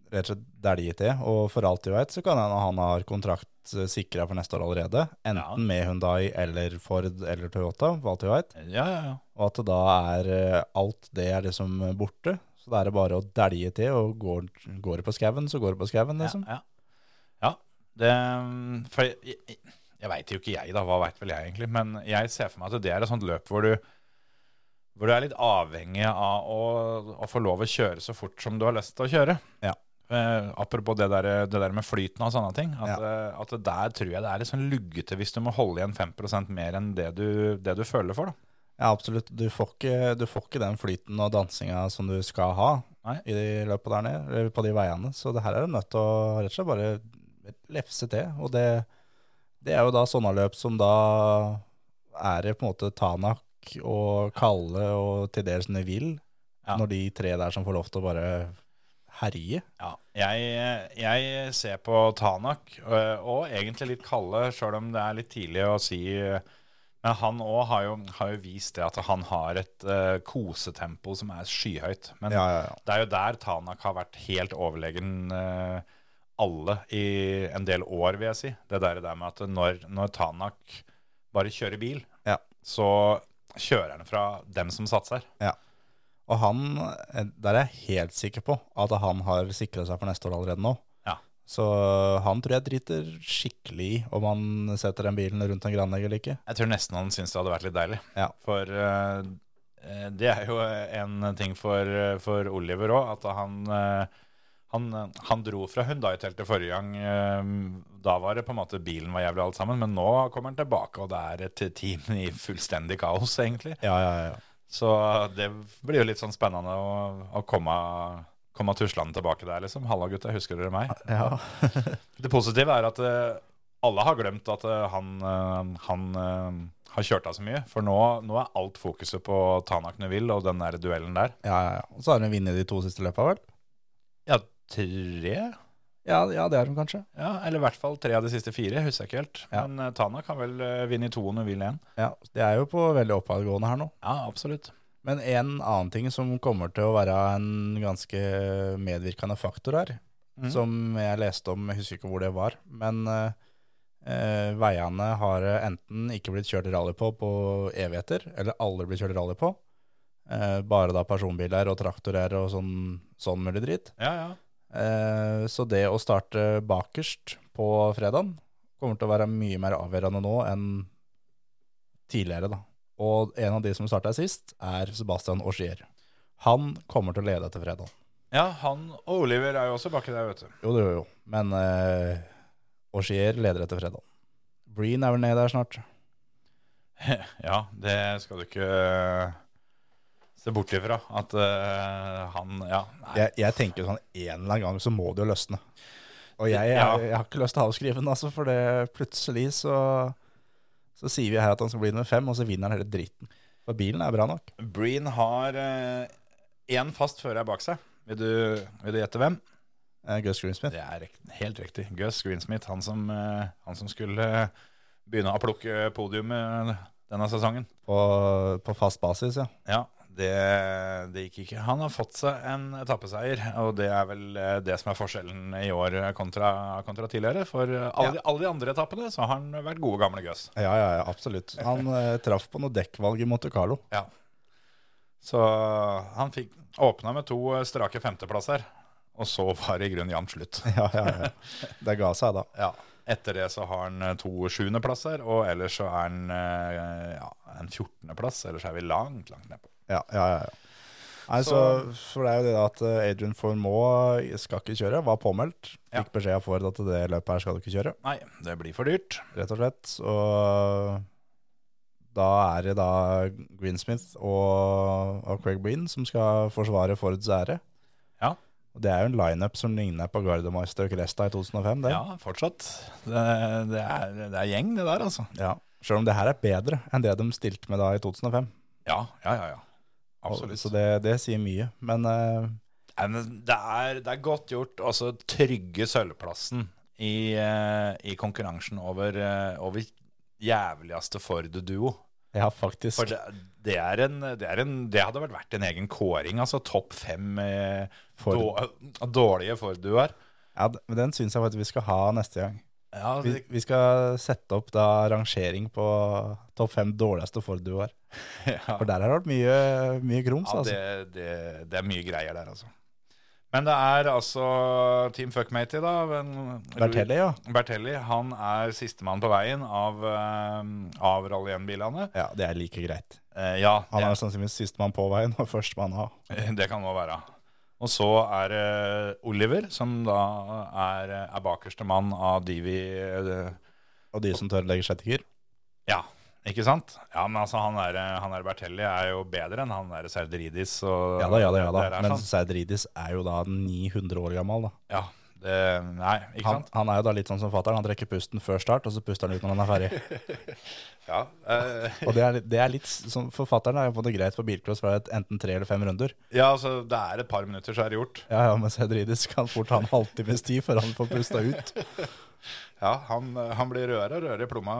rett og slett dælje til. Og for alt jeg veit, så kan hende han har kontrakt sikra for neste år allerede. Enten
Ja.
med Hundai eller Ford eller Toyota, for alt jeg veit.
Ja, ja, ja.
Og at det da er eh, alt det er liksom borte. Så da er det bare å dælje til, og går, går det på skauen, så går det på skauen, liksom.
Ja, ja. ja det, mm, for jeg, jeg, jeg veit jo ikke jeg, da. Hva veit vel jeg, egentlig? Men jeg ser for meg at det er et sånt løp hvor du hvor du er litt avhengig av å, å få lov å kjøre så fort som du har lyst til å kjøre.
Ja.
Eh, apropos det der, det der med flyten og sånne ting. At, eh, at det der tror jeg det er litt sånn luggete hvis du må holde igjen 5 mer enn det du, det du føler for. Da.
Ja, absolutt. Du får, ikke, du får ikke den flyten og dansinga som du skal ha
Nei.
i de løpet der nede, eller på de veiene. Så det her er du nødt til å rett og slett bare lefse til. Og det, det er jo da sånne løp som da er det på en måte Tanak og Kalle og til dels Neville,
Ja.
når de tre der som får lov til å bare herje.
Ja, jeg, jeg ser på Tanak, øh, og egentlig litt Kalle, sjøl om det er litt tidlig å si. øh, Men han òg har, jo- har jo vist det at han har et øh, kosetempo som er skyhøyt. Men
Ja, ja, ja.
det er jo der Tanak har vært helt overlegen øh, alle i en del år, vil jeg si. Det der, der med at når, når Tanak bare kjører bil,
Ja.
så kjører han fra dem som satser.
Og han, eh, der er jeg helt sikker på at han har sikra seg for neste år allerede nå.
Ja.
Så han tror jeg driter skikkelig i om han setter den bilen rundt en granlegg eller ikke.
Jeg tror nesten han syntes det hadde vært litt deilig.
Ja.
For eh, eh, det er jo en ting for, eh, for Oliver òg, at han, eh, han, han dro fra Hundai-teltet forrige gang. eh, da var det på en måte bilen var jævlig alt sammen, men nå kommer han tilbake, og det er et team i fullstendig kaos, egentlig.
Ja, ja, ja.
Så det blir jo litt sånn spennende å, å komme, komme tuslende tilbake der, liksom. Halla, gutta, husker dere meg? Det positive er at eh, alle har glemt at eh, han, eh, han eh, har kjørt av så mye. For nå, nå er alt fokuset på Tanak Neville og den der duellen der.
ja, ja. Og så har han vunnet de to siste løpa, vel?
Ja, tre?
Ja, ja, det har han kanskje.
Ja, Eller i hvert fall tre av de siste fire. Husker jeg ikke helt.
Ja.
Men eh, Tanak kan vel eh, vinne i to og Neville én.
Ja, Det er jo på veldig oppadgående her nå.
Ja, absolutt.
Men en annen ting som kommer til å være en ganske medvirkende faktor her,
Mm.
som jeg leste om, jeg husker ikke hvor det var, men eh, eh, veiene har eh, enten ikke blitt kjørt rally på på evigheter, eller aldri blitt kjørt rally på, eh, bare da personbiler og traktorer og sånn, sånn mulig dritt.
Ja, ja.
Eh, så det å starte bakerst på fredagen kommer til å være mye mer avgjørende nå enn tidligere, da. Og en av de som starta sist, er Sebastian Augier. Han kommer til å lede etter fredag.
ja, han og Oliver er jo også baki der, vet du.
Jo, det gjør jo. Men eh, Augier leder etter fredag. Breen er vel nede der snart.
Ja, det skal du ikke eh, se bort ifra. At eh, han Ja. Nei.
Jeg, jeg tenker sånn en eller annen gang så må det jo løsne. Og jeg,
Ja.
jeg, jeg har ikke lyst til å avskrive den, altså, for det plutselig så, så sier vi her at han skal bli nummer fem, og så vinner han hele dritten. For bilen er bra nok.
Breen har én fast fører bak seg. Vil du, vil du gjette hvem?
Eh, Gus Greensmith.
Det er rekt- helt riktig. Gus Greensmith, han som, eh, han som skulle eh, begynne å plukke podiumet denne sesongen.
På, på fast basis, ja.
Ja, det, det gikk ikke. Han har fått seg en etappeseier, og det er vel eh, det som er forskjellen i år kontra, kontra tidligere. For eh, alle, de, alle de andre etappene så har han vært gode, gamle Gus.
Ja, ja, ja absolutt. Han eh, traff på noe dekkvalg i Monte Carlo.
Ja. Så han fikk åpna med to eh, strake femteplasser, og så var det i grunnen jevnt slutt.
Ja, ja, ja. Det ga seg da.
Ja. Etter det så har han eh, to sjuendeplasser, og ellers så er han eh, ja, en fjortendeplass. Ellers er vi langt, langt nedpå.
Ja, ja, ja. ja. Nei, så, for det er jo det da at eh, Adrian Formoe skal ikke kjøre, var påmeldt.
Ja.
Fikk beskjed av Ford at det løpet her skal du ikke kjøre,
Nei, det blir for dyrt.
rett og slett. Og da er det da Greensmith og, og Craig Breen som skal forsvare Fords ære.
Ja.
Og det er jo en lineup som ligner på Gardemeister og Cresta i 2005, det.
Ja, fortsatt. Det, det, er, det er gjeng, det der, altså.
Ja. Selv om det her er bedre enn det de stilte med da i 2005.
Ja, ja, ja. ja. Absolutt.
Absolutt. Så det, det sier mye. Men eh,
Nei, men det, er, det er godt gjort altså trygge sølvplassen i, eh, i konkurransen over, eh, over jævligste Ford-duo.
ja, faktisk.
For det, det, er en, det, er en, det hadde vært verdt en egen kåring, altså topp fem eh,
Ford.
Då, dårlige Ford-duoer.
Ja, d- men den syns jeg faktisk vi skal ha neste gang.
Ja,
Vi,
det-
vi skal sette opp da rangering på topp fem dårligste Ford-duoer.
ja.
For der har det vært mye, mye grums,
Ja,
altså.
det, det, det er mye greier der, altså. Men det er altså Team Fuckmatey, da. men-
Bertelli, ja.
Bertelli han er sistemann på veien av, eh, av Rally 1-bilene.
Ja, det er like greit.
Eh, ja,
Han
det,
er sannsynligvis sistemann på veien og førstemann av.
det kan nå være. Og så er det Oliver, som da er, er bakerste mann av Divi eh,
Og de som tør å legge seg til kyr.
Ja, ikke sant? Ja, men altså, han der, han der Bertelli er jo bedre enn han der Serderidis. og-
Ja da, ja da, ja da.
det der,
Men
sånn.
Seidridis er jo da 900 år gammel, da.
Ja, det, nei, ikke
Han,
sant?
han er jo da litt sånn som fatter'n. Han trekker pusten før start, og så puster han ut når han er ferdig.
Ja, eh,
Og det er, litt- det er litt sånn, For fatter'n er jo på det greit for bilcross fra et enten tre eller fem runder.
Ja, altså, det er et par minutter så er det gjort.
Ja, ja, men Seidridis kan fort ha en halvtimes tid før han får pusta ut.
Ja, han, eh, han blir rødere og rødere i plomma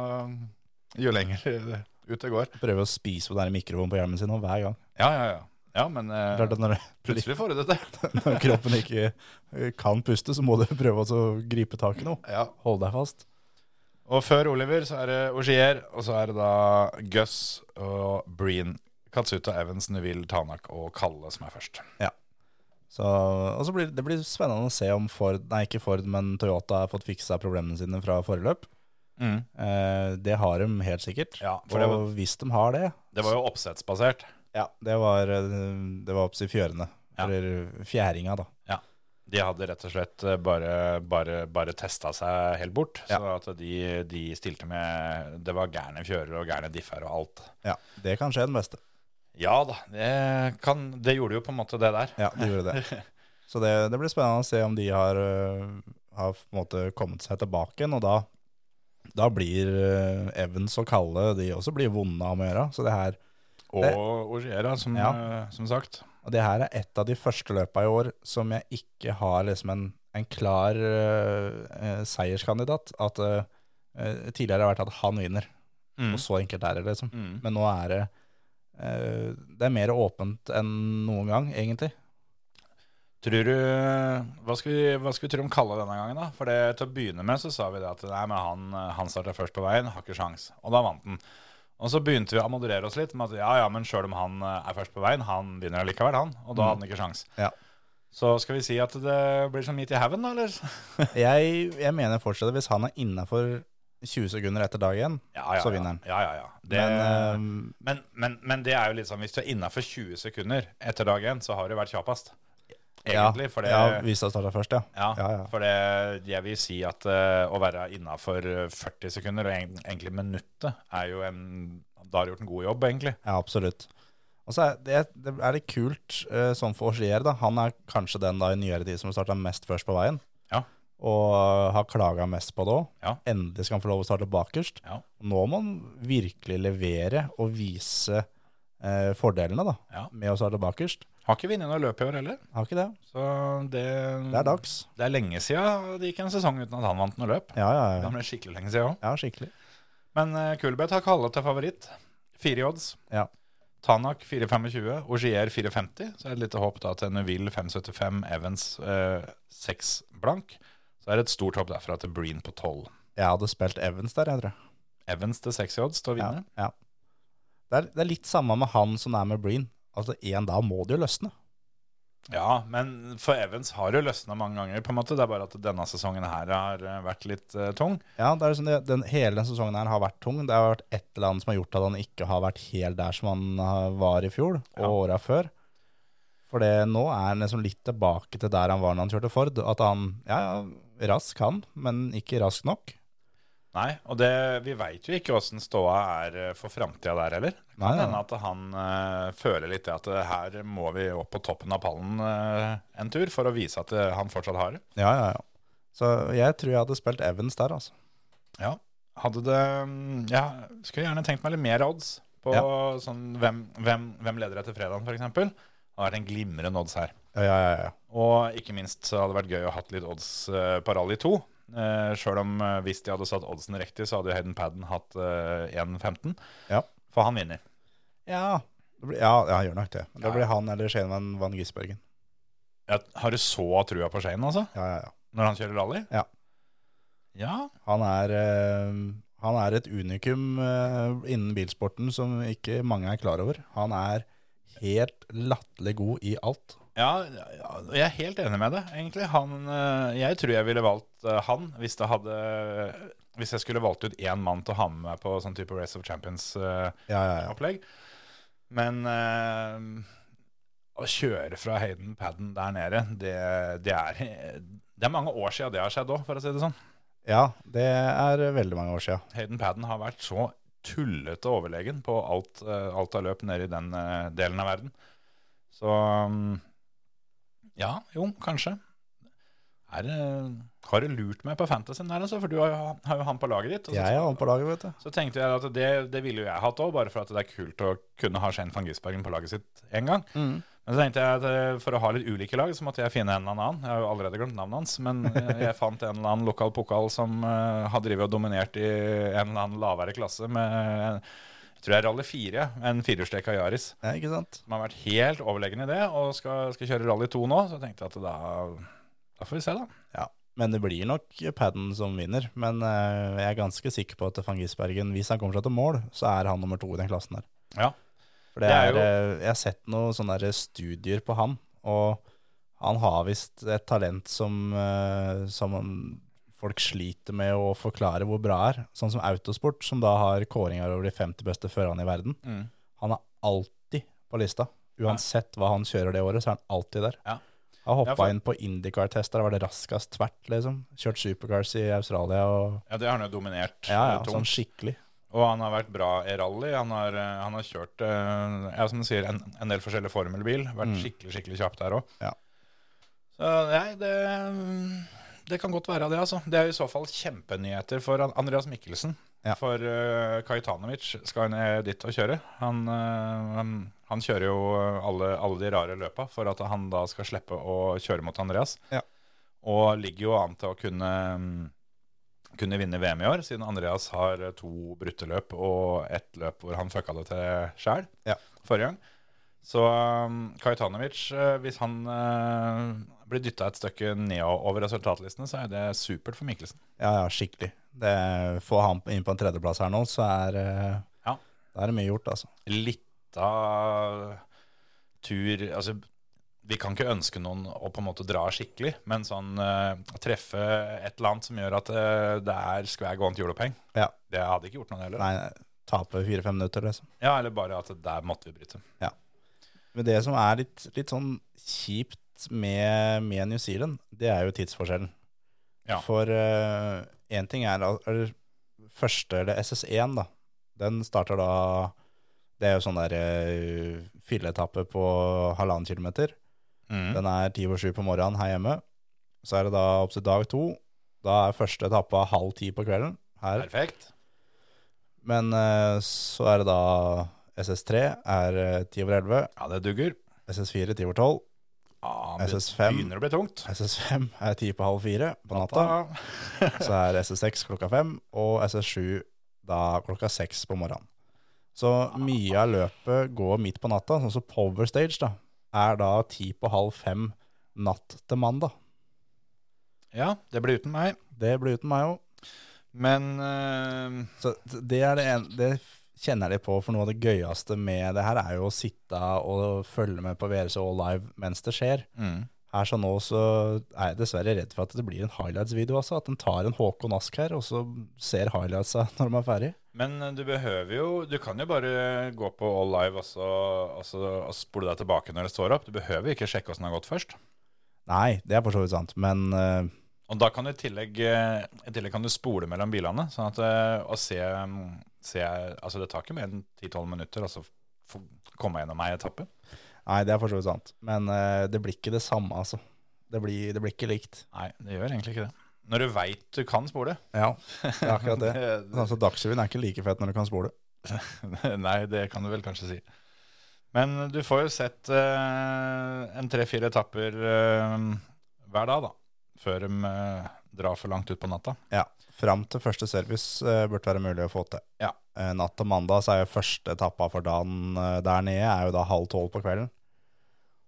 jo lenger eh, ut det går.
Prøver å spise på den mikrofonen på hjelmen sin og hver gang.
Ja, ja, ja. Ja, men eh,
Klart at når,
plutselig får du det til.
når kroppen ikke eh, kan puste, så må du prøve også å gripe tak i noe.
Ja.
Hold deg fast.
Og før Oliver så er det Ogier, og så er det da Gus og Breen. Katsuta Evans, Neville, Tanak og Kalle som er først.
Så, og så blir det blir spennende å se om Ford, nei ikke Ford, men Toyota har fått fiksa problemene sine fra forrige løp.
Mm.
Eh, det har de helt sikkert.
Ja, for
og
det
hvis de har det,
Det var jo oppsettsbasert.
ja, det var, eh, det var opps i fjørene.
Ja.
Eller fjæringa, da.
De hadde rett og slett eh, bare, bare, bare testa seg helt bort.
Ja.
Så at de, de stilte med Det var gærne fjører og gærne differ og alt.
Ja, Det kan skje den beste.
Ja da, det, kan, det gjorde jo på en måte det der.
Ja, de gjorde det. Så det, det blir spennende å se om de har, øh, har på en måte kommet seg tilbake igjen, og da, da blir øh, Evans og Kalle de også blir vonde av med å gjøre. Så det her,
Og Ogiera, som,
Ja.
eh, som sagt.
og det her er et av de første løpa i år som jeg ikke har liksom en, en klar øh, eh, seierskandidat. At øh, eh, tidligere har det vært at han vinner, og så enkelt er det liksom.
Mm.
Men nå er det eh, det er mer åpent enn noen gang, egentlig.
Tror du, hva skal, vi, hva skal vi tro om Kalle denne gangen, da? For det, til å begynne med så sa vi det at nei, men han, han starta først på veien, har ikke sjans. Og da vant han. Og så begynte vi å moderere oss litt med at ja, ja, men sjøl om han eh, er først på veien, han vinner allikevel, han. Og da hadde han ikke sjans.
Mm. Ja.
Så skal vi si at det blir som midt i haugen, da, eller?
Jeg, jeg mener fortsatt at hvis han er innafor 20 sekunder etter dag én,
Ja, ja,
så vinner han.
Ja, ja, ja. ja. Det,
Men, eh,
men, men, men, det er jo litt sånn, hvis du er innafor 20 sekunder etter dag én, så har du vært kjappest. Egentlig.
ja,
For det,
ja,
ja,
hvis han starter først, ja. ja, ja.
for det jeg vil si at eh, å være innafor 40 sekunder, og egen- egentlig minuttet, er jo en Da har du gjort en god jobb, egentlig.
ja absolutt. Og så er det, det er litt kult eh, sånn for Auxier, da. Han er kanskje den da i nyere tid som starta mest først på veien.
Ja.
og har klaga mest på det òg.
Ja.
Endelig skal han få lov å starte bakerst.
Ja.
Nå må han virkelig levere og vise eh, fordelene da,
Ja.
med å starte bakerst.
Har ikke vunnet noe løp i år heller.
Har ikke det.
Så det,
Det
Mm.
er dags.
Det er lenge siden det gikk en sesong uten at han vant noe løp.
Ja, ja,
Det
ja.
ble skikkelig lenge siden òg.
ja skikkelig.
Men uh, Kulbeth har Kalle til favoritt. Fire i odds.
Ja.
Tanak 4,25, Ogier 4,50. Så er det et lite håp da til Neville 5,75, Evans eh, 6 blank. Så er det et stort håp derfra til Breen på 12.
Jeg hadde spilt Evans der, jeg tror.
Evans til 6 i odds til å
Ja,
vinne.
ja. Det, er, det er litt samme med han som det er med Breen. Altså, En dag må det jo løsne.
Ja. men for Evans har jo løsna mange ganger, på en måte. Det er bare at denne sesongen her har eh, vært litt eh, tung.
Ja, det er liksom det, den, Hele denne sesongen her har vært tung. Det har vært et eller annet som har gjort at han ikke har vært helt der som han eh, var i fjor og
Ja.
åra før. For det, nå er han liksom litt tilbake til der han var når han kjørte Ford. At han ja, ja, rask han, men ikke rask nok.
Nei, og det, vi veit jo ikke åssen ståa er eh, for framtida der heller. Det
Nei,
kan
nei.
hende at han eh, føler litt det at eh, her må vi opp på toppen av pallen eh, en tur for å vise at eh, han fortsatt har det.
Ja, ja, ja. Så jeg tror jeg hadde spilt Evans der, altså.
Ja. Hadde det mm, Ja, skulle gjerne tenkt meg litt mer odds på sånn hvem, hvem, hvem leder etter fredagen, f.eks. Det hadde vært en glimrende odds her.
Ja, ja, ja. ja.
Og ikke minst så hadde det vært gøy å hatt litt odds eh, på Rally 2. Eh, Sjøl om eh, hvis de hadde satt oddsen riktig, så hadde jo Hayden Padden hatt eh, 1,15.
Ja.
For han vinner.
Ja, det blir, ja, ja han gjør nok det.
Ja,
Men Da
ja.
blir han eller Shane van, van Gisbergen.
Ja, har du så trua på Shane, altså?
Ja, ja, ja.
Når han kjører rally?
Ja.
Ja,
Han er, eh, han er et unikum eh, innen bilsporten som ikke mange er klar over. Han er helt latterlig god i alt.
ja, ja, jeg er helt enig med deg, egentlig. Han, eh, jeg tror jeg ville valgt eh, han hvis, det hadde, eh, hvis jeg skulle valgt ut én mann til å ha med meg på sånn type Race of eh, Champions-opplegg.
Ja, ja, ja.
Men eh, å kjøre fra Hayden Padden der nede, det, det, er, det er mange år siden det har skjedd òg, for å si det sånn.
ja det er veldig mange år siden.
Hayden Padden har vært så tullete overlegen på alt, eh, alt av løp nede i den eh, delen av verden. Så mm, ja, jo, kanskje. Er, det- har du lurt meg på fantasyen der, altså? For du har, jo- har jo han på laget ditt. altså. og så-
Jeg er han på laget, vet du.
Så tenkte jeg at det, det ville jo jeg hatt òg, bare for at det er kult å kunne ha Shane van Gisbergen på laget sitt en gang.
Mm.
Men så tenkte jeg at eh, for å ha litt ulike lag, så måtte jeg finne en eller annen. Jeg har jo allerede glemt navnet hans, men eh, jeg fant en eller annen lokal pokal som eh, har drevet og dominert i en eller annen lavere klasse med eh, jeg tror det er rally 4, en firehjulstrekk av Yaris.
Ja, ikke sant?
Som har vært helt overlegen i det, og skal, skal kjøre rally 2 nå. Så tenkte jeg at da, da får vi se, da.
Ja. Men det blir nok Padden som vinner. Men eh, jeg er ganske sikker på at Van Gisbergen, hvis han kommer seg til mål, så er han nummer to i den klassen der.
Ja.
For det,
Det er
er, eh, jeg har sett noen sånne der studier på han, og han har visst et talent som, eh, som han- folk sliter med å forklare hvor bra er. Sånn som Autosport, som da har kåringer over de 50 beste førerne i verden.
Mm.
Han er alltid på lista. Uansett hva han kjører det året, så er han alltid der.
Ja.
Han hoppa
Ja, for-
inn på Indycar-tester, var det raskest tvert, liksom. Kjørt supercars i Australia og
ja, det har han jo dominert.
Ja, ja,
eh,
sånn
tungt.
skikkelig.
Og han har vært bra i rally. Han har, eh, han har kjørt eh, ja, som du sier, en, en del forskjellige formelbil. Vært skikkelig skikkelig kjapp der òg.
Mm. Ja.
Så nei, det, det kan godt være det, altså. Det er i så fall kjempenyheter for An- Andreas Mikkelsen.
Ja.
For uh, Kajtanovic skal ned dit og kjøre. Han, eh, han, han kjører jo alle, alle de rare løpa for at han da skal slippe å kjøre mot Andreas.
Ja.
Og ligger jo an til å kunne mm, kunne vinne VM i år, siden Andreas har eh, to brutte løp og ett løp hvor han fucka det til sjæl
Ja.
forrige gang. Så um, Kajtanovic, eh, hvis han eh, blir dytta et stykke nedover resultatlistene, så er det supert for Mikkelsen.
Ja, ja, skikkelig. Det, få han inn på en tredjeplass her nå, så er, eh,
Ja.
da er det mye gjort, altså.
Lita tur Altså, vi kan ikke ønske noen å på en måte dra skikkelig, men sånn eh, treffe et eller annet som gjør at eh, det er skvæg og annet julepeng,
Ja.
det hadde ikke gjort noe heller.
Nei, tape fire-fem minutter, liksom.
Ja, eller bare at der måtte vi bryte.
Men det som er litt, litt sånn kjipt med, med New Zealand, det er jo tidsforskjellen.
Ja.
For én ting er, al- eller første, eller SS1, da. Den starter da Det er jo sånn der eh, fylleetappe på halvannen kilometer.
Mm.
Den er ti over sju på morgenen her hjemme. Så er det da opp til dag to, Da er første etappa halv ti på kvelden her.
Perfekt.
Men eh, så er det da SS3 er eh, 10 over 11,
Ja, det dugger.
SS4 10 over 12,
Ja, det
SS5.
Begynner å bli tungt.
SS5 er 10 på halv fire på natta, så er SS6 klokka fem, og SS7 da klokka seks på morgenen. Så mye av løpet går midt på natta, sånn som Power Stage da, er da 10 på halv fem natt til mandag.
Ja, det blir uten meg.
Det blir uten meg også.
Men eh,
Så det er det en, det kjenner jeg litt på, for noe av det gøyeste med det her er jo å sitte og følge med på VRC All Live mens det skjer.
mm.
Her sånn nå så er jeg dessverre redd for at det blir en highlights-video, altså. At den tar en Håkon Ask her, og så ser highlightsa når de er ferdig.
Men eh, du behøver jo Du kan jo bare gå på All Live og, så, og, så, og spole deg tilbake når det står opp. Du behøver ikke sjekke åssen det har gått først.
Nei, det er for så vidt sant, men eh,
Og da kan du i tillegg, eh, i tillegg kan du spole mellom bilene, sånn at eh, å se, mm, se Altså, det tar ikke mer enn 10-12 minutter, altså få komme gjennom ei etappe.
Nei, det er for så vidt sant. Men eh, det blir ikke det samme, altså. Det blir, det blir ikke likt.
Nei, det gjør egentlig ikke det. Når du veit du kan spole.
Ja, det er akkurat det. Sånn som Dagsrevyen er ikke like fett når du kan spole.
Nei, det kan du vel kanskje si. Men du får jo sett eh, en tre-fire etapper eh, hver dag, da. Før de eh, drar for langt ut på natta.
Ja, fram til første service eh, burde være mulig å få til.
Ja.
Eh, natt til mandag så er jo første etappa for dagen eh, der nede, er jo da halv tolv på kvelden.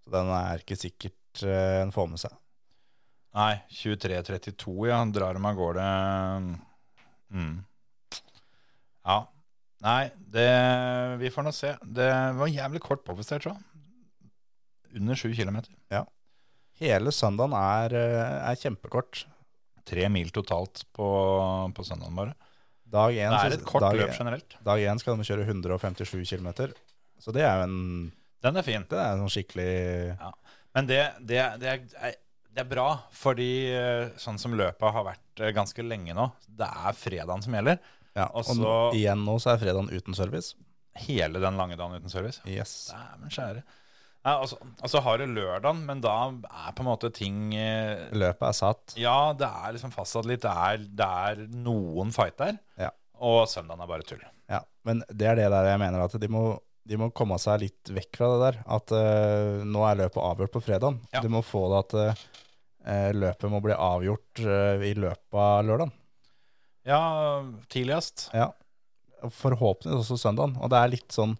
Så den er ikke sikkert eh, en får med seg.
Nei, 23.32, ja. Drar de av gårde mm. Ja. Nei, det Vi får nå se. Det var jævlig kort påbestert, så. Under sju kilometer.
Hele søndagen er, eh, er kjempekort.
Tre mil totalt på, på søndagen, bare.
Dag én,
Det
så-
er et kort
dag,
løp generelt.
dag én skal de kjøre 157 km. Så det er jo en,
Den er fin.
det er en sånn skikkelig
Men det, det, det, er, det er bra, fordi eh, sånn som løpet har vært eh, ganske lenge nå, det er fredagen som gjelder.
ja.
Og
Og
så-
nå- igjen nå så er fredagen uten service.
Hele den lange dagen uten service.
Yes.
Dæven skjære. Nei, altså, altså har du lørdagen, men da er på en måte ting eh,
Løpet er satt.
Ja, det er liksom fastsatt litt. Det er, det er noen fight der.
Ja.
Og søndagen er bare tull.
Ja, men det er det der jeg mener at de må, de må komme seg litt vekk fra det der. At eh, nå er løpet avgjort på fredagen.
Ja.
De må få det at eh, løpet må bli avgjort eh, i løpet av lørdagen.
Ja, tidligst.
Ja. Forhåpentligvis også søndagen. Og det er litt sånn,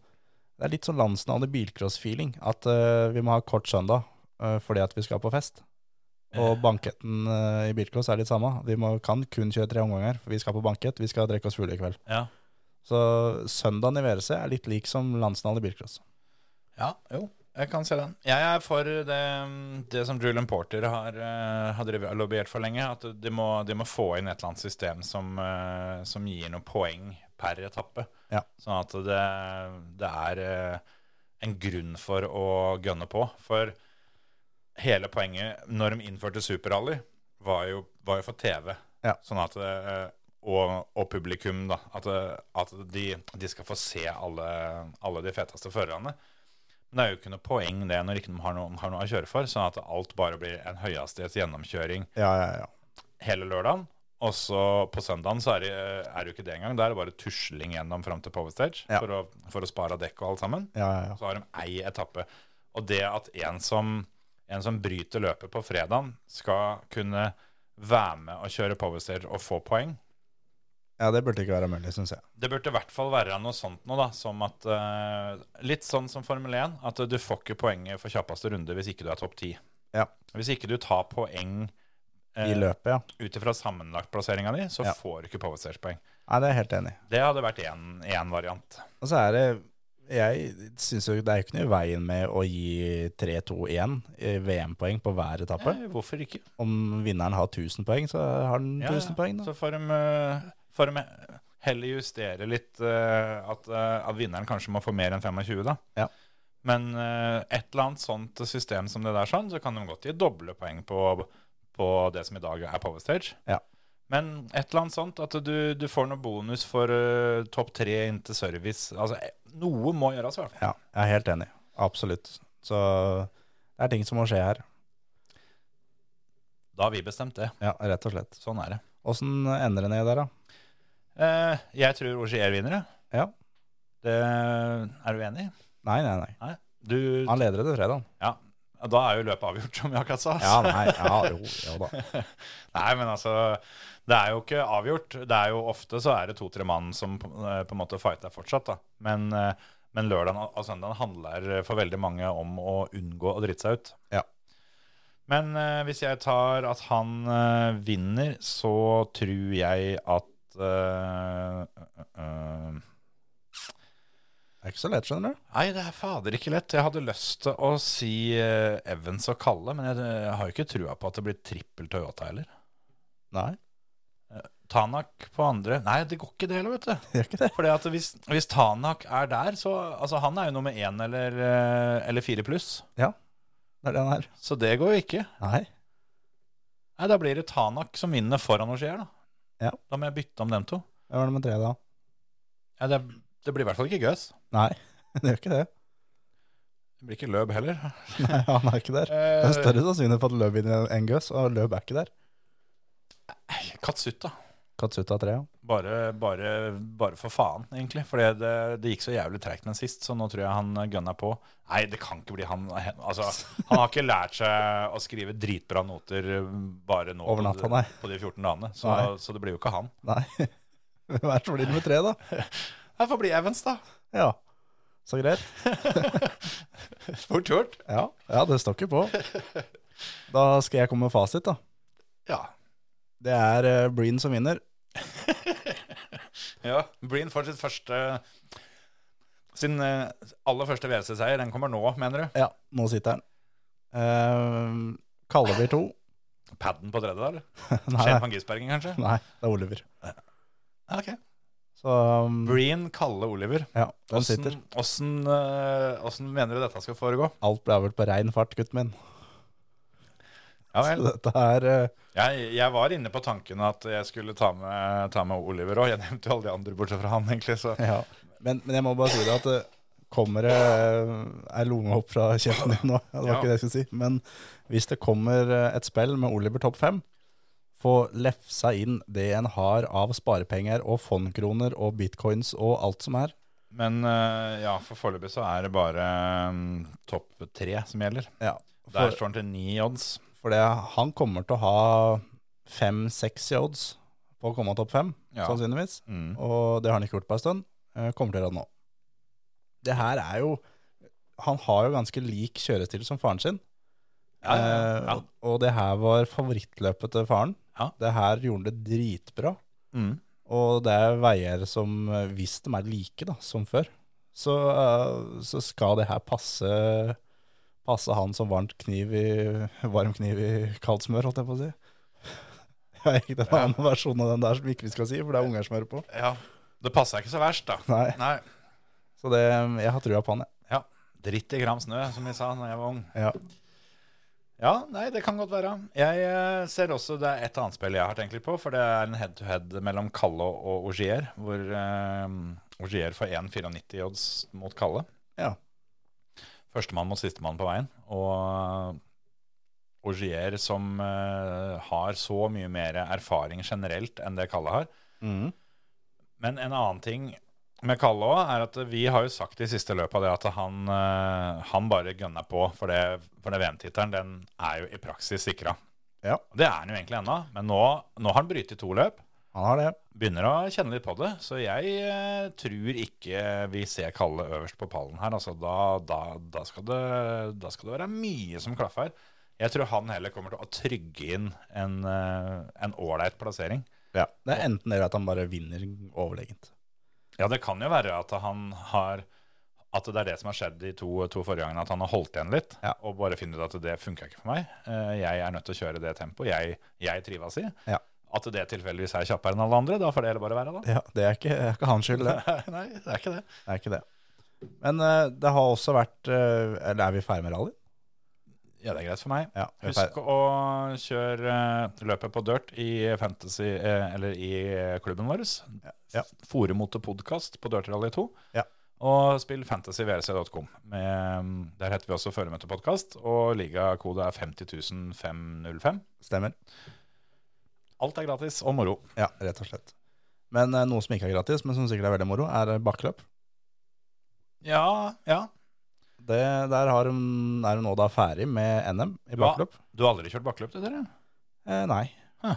det er litt sånn landsnavnet bilcross-feeling. At eh, vi må ha kort søndag eh, fordi at vi skal på fest. Og banketten eh, i bilcross er litt samme. Vi må, kan kun kjøre tre omganger, for vi skal på bankett. Vi skal drikke oss fulle i kveld.
Ja.
Så søndagen i VRC er litt lik som landsnavnet i bilcross.
Ja, jo, jeg kan se den. Jeg er for det, det som Julian Porter har, eh, har drevet- lobbyert for lenge, at de må, de må få inn et eller annet system som, eh, som gir noen poeng per etappe.
Ja.
Sånn at det, det er eh, en grunn for å gønne på. For hele poenget når de innførte Superrally, var jo, var jo for TV.
Ja.
Sånn at eh, og, og publikum, da. At, eh, at de, de skal få se alle, alle de feteste førerne. Men det er jo ikke noe poeng det når ikke de har noe, har noe å kjøre for, sånn at alt bare blir en høyhastighets gjennomkjøring
Ja, ja, ja.
hele lørdagen. Og så på søndagen så er det, eh, er det jo ikke det engang. Da er det bare tusling gjennom fram til Power Stage
Ja.
for, å, for å spare dekk og alt sammen.
ja, ja, ja.
Så har de ei etappe. Og det at en som, en som bryter løpet på fredagen, skal kunne være med og kjøre Power Stage og få poeng,
ja det burde ikke være mulig, syns jeg.
det burde i hvert fall være noe sånt nå, da. Som at, eh, litt sånn som Formel 1, at du får ikke poenget for kjappeste runde hvis ikke du er topp 10.
Ja.
Hvis ikke du tar poeng
I
eh,
løpet, ja.
ut ifra sammenlagtplasseringa di, så
Ja.
får du ikke powerstage-poeng.
Nei, det er jeg helt enig i.
Det hadde vært én variant.
Og så er det Jeg syns jo det er ikke noe i veien med å gi 3-2-1 i VM-poeng på hver etappe.
Eh, hvorfor ikke?
Om vinneren har 1000 poeng, så har den
Ja,
1000 poeng, da.
Så får de, eh, får de heller justere litt eh, at, eh, at vinneren kanskje må få mer enn 25, da.
Ja.
Men eh, et eller annet sånt system som det der, sånn, så kan de godt gi doble poeng på, på det som i dag er power stage.
Ja.
Men et eller annet sånt, at du, du får noe bonus for eh, topp tre inntil service. Altså, eh, noe må gjøres, i hvert fall.
Ja, jeg er helt enig. Absolutt. Så det er ting som må skje her.
Da har vi bestemt det.
Ja, rett og slett.
Sånn er det.
Åssen ender det ned der, da?
Eh, jeg tror Ogier vinner, jeg.
Ja.
Det, er du enig?
Nei, nei, nei.
Nei. Du,
Han leder det til fredag.
ja. Da er jo løpet avgjort, som Jakat sa.
Ja, nei, ja, jo, jo da.
Nei, men altså, det er jo ikke avgjort. Det er jo ofte så er det to-tre mann som på eh, på en måte fighter fortsatt, da. Men, eh, men lørdagen og og søndagen handler eh, for veldig mange om å unngå å drite seg ut.
Ja.
Men eh, hvis jeg tar at han eh, vinner, så tror jeg at eh, eh, eh,
Det er ikke så lett, skjønner du.
Nei, det er fader ikke lett. Jeg hadde lyst til å si eh, Evans og Kalle, men jeg, jeg har jo ikke trua på at det blir trippel Toyota heller.
Nei,
Tanak på andre Nei, det går ikke det heller, vet du.
det gjør ikke det.
Fordi at hvis, hvis Tanak er der, så Altså, han er jo nummer én eller, eh, eller fire pluss.
Det er det han er.
Så det går jo ikke.
Nei.
Nei, da blir det Tanak som vinner foran Ogier, da.
Ja.
Da må jeg bytte om dem to.
Hva var nummer tre, da?
Ja, det, det blir i hvert fall ikke Gøs.
Nei, det gjør ikke det.
Det blir ikke Løb heller.
Nei, han er ikke der. Det er større sannsynlighet for at Løb vinner enn Gøs, og Løb er ikke der.
Eh, Katsuta.
Katsuta 3, ja.
Bare, bare, bare for faen, egentlig. For det, det gikk så jævlig treigt den sist, så nå tror jeg han gønna på. Nei, det kan ikke bli han. Altså, han har ikke lært seg å skrive dritbra noter bare nå
Over natta,
på,
nei.
de, på de 14 dagene, så,
Nei.
så det blir jo ikke han.
Nei. Hvem er det som blir nummer tre, da?
Det får bli Evans, da.
Ja. Så greit.
Fort gjort.
Ja, ja det står ikke på. Da skal jeg komme med fasit, da.
Ja.
Det er eh, Breen som vinner.
ja. Breen får sitt første Sin eh, aller første WC-seier. Den kommer nå, mener du?
Ja, nå sitter han. Eh, Kalle blir to.
Padden på tredje, da? eller?
Nei,
Skjerman Gisbergen, kanskje?
nei, det er Oliver.
Ja, Ok.
Så um,
Breen, Kalle, Oliver.
ja, den sitter.
Åssen åssen, eh, åssen mener du dette skal foregå?
Alt ble vel på rein fart, gutten min.
Ja
Så
vel.
dette er eh,
Jeg, jeg var inne på tanken at jeg skulle ta med, ta med Oliver òg. Jeg nevnte jo alle de andre bortsett fra han, egentlig. Så.
Ja, men, men jeg må bare si det at det kommer det eh, ei lunge opp fra kjeften din nå. Det var
Ja.
ikke det jeg skulle si. Men hvis det kommer eh, et spill med Oliver topp fem, få lefsa inn det en har av sparepenger og fondkroner og bitcoins og alt som er.
Men eh, ja, for foreløpig så er det bare mm, topp tre som gjelder.
Ja,
Der
for,
står han til ni odds.
for det, han kommer til å ha fem-seks i odds på å komme topp fem,
Ja.
sannsynligvis.
Mm.
Og det har han ikke gjort på en stund. Eh, Kommer til å gjøre det nå. Det her er jo Han har jo ganske lik kjørestil som faren sin.
Ja, ja, ja.
Eh, og det her var favorittløpet til faren.
Ja.
Det her gjorde han det dritbra.
Mm.
Og det er veier som, eh, hvis de er like da, som før, så, eh, så skal det her passe, passe han som varmt kniv i, varm kniv i kaldt smør, holdt jeg på å si. Jeg gikk den
Ja.
andre versjonen av den der som ikke vi skal si, for det er unger som hører på.
ja. Det passa ikke så verst, da.
Nei,
Nei.
Så det, jeg har trua på han, jeg.
Ja. Dritt i gram snø, som vi sa da jeg var ung.
Ja.
Ja, nei, det kan godt være. Jeg eh, ser også det er et annet spill jeg har tenkt litt på, for det er en head-to-head mellom Kalle og Ogier, hvor eh, Ogier får 1,94 odds mot Kalle.
Ja.
Førstemann mot sistemann på veien, og Ogier som eh, har så mye mer erfaring generelt enn det Kalle har.
Mhm.
Men en annen ting med Kalle òg, er at vi har jo sagt i siste løpet av det at han, eh, han bare gønner på for det, for det VM-tittelen. Den er jo i praksis sikra.
Ja.
Det er han jo egentlig ennå, men nå, nå har han brytet to løp.
Han har det.
Begynner å kjenne litt på det, så jeg eh, tror ikke vi ser Kalle øverst på pallen her. Altså, da, da, da, skal det, da skal det være mye som klaffer. Jeg tror han heller kommer til å trygge inn en eh, en ålreit plassering.
Ja. Det er enten det eller at han bare vinner overlegent.
Ja, det kan jo være at han har At det er det som har skjedd de to, to forrige gangene, at han har holdt igjen litt
Ja.
og bare funnet ut at det funka ikke for meg. Eh, Jeg er nødt til å kjøre det tempoet jeg, jeg trives i.
Ja.
At det tilfeldigvis er kjappere enn alle andre, da får det heller bare være, da.
Ja, det er ikke, det er ikke hans skyld, det.
Nei, det er ikke det.
det, er ikke det. Men eh, det har også vært eh, Eller er vi ferdig med rally?
Ja, det er greit for meg.
Ja, vi er ferdig.
Husk å kjøre eh, løpet på dirt i fantasy, eh, eller i klubben vår.
Ja.
Foremote podcast på Dirt Rally 2.
Ja.
Og spill fantasyvrc.com. Med- mm, Der heter vi også Føremøtepodkast, og ligakode er 50505.
Stemmer.
Alt er gratis og moro.
Ja, rett og slett. Men eh, noe som ikke er gratis, men som sikkert er veldig moro, er eh, bakkeløp.
Ja, ja.
Det, der har hun, er hun nå da ferdig med NM i
Ja.
bakkeløp.
Du har aldri kjørt bakkeløp, du, dere?
Eh, nei.
Hæ.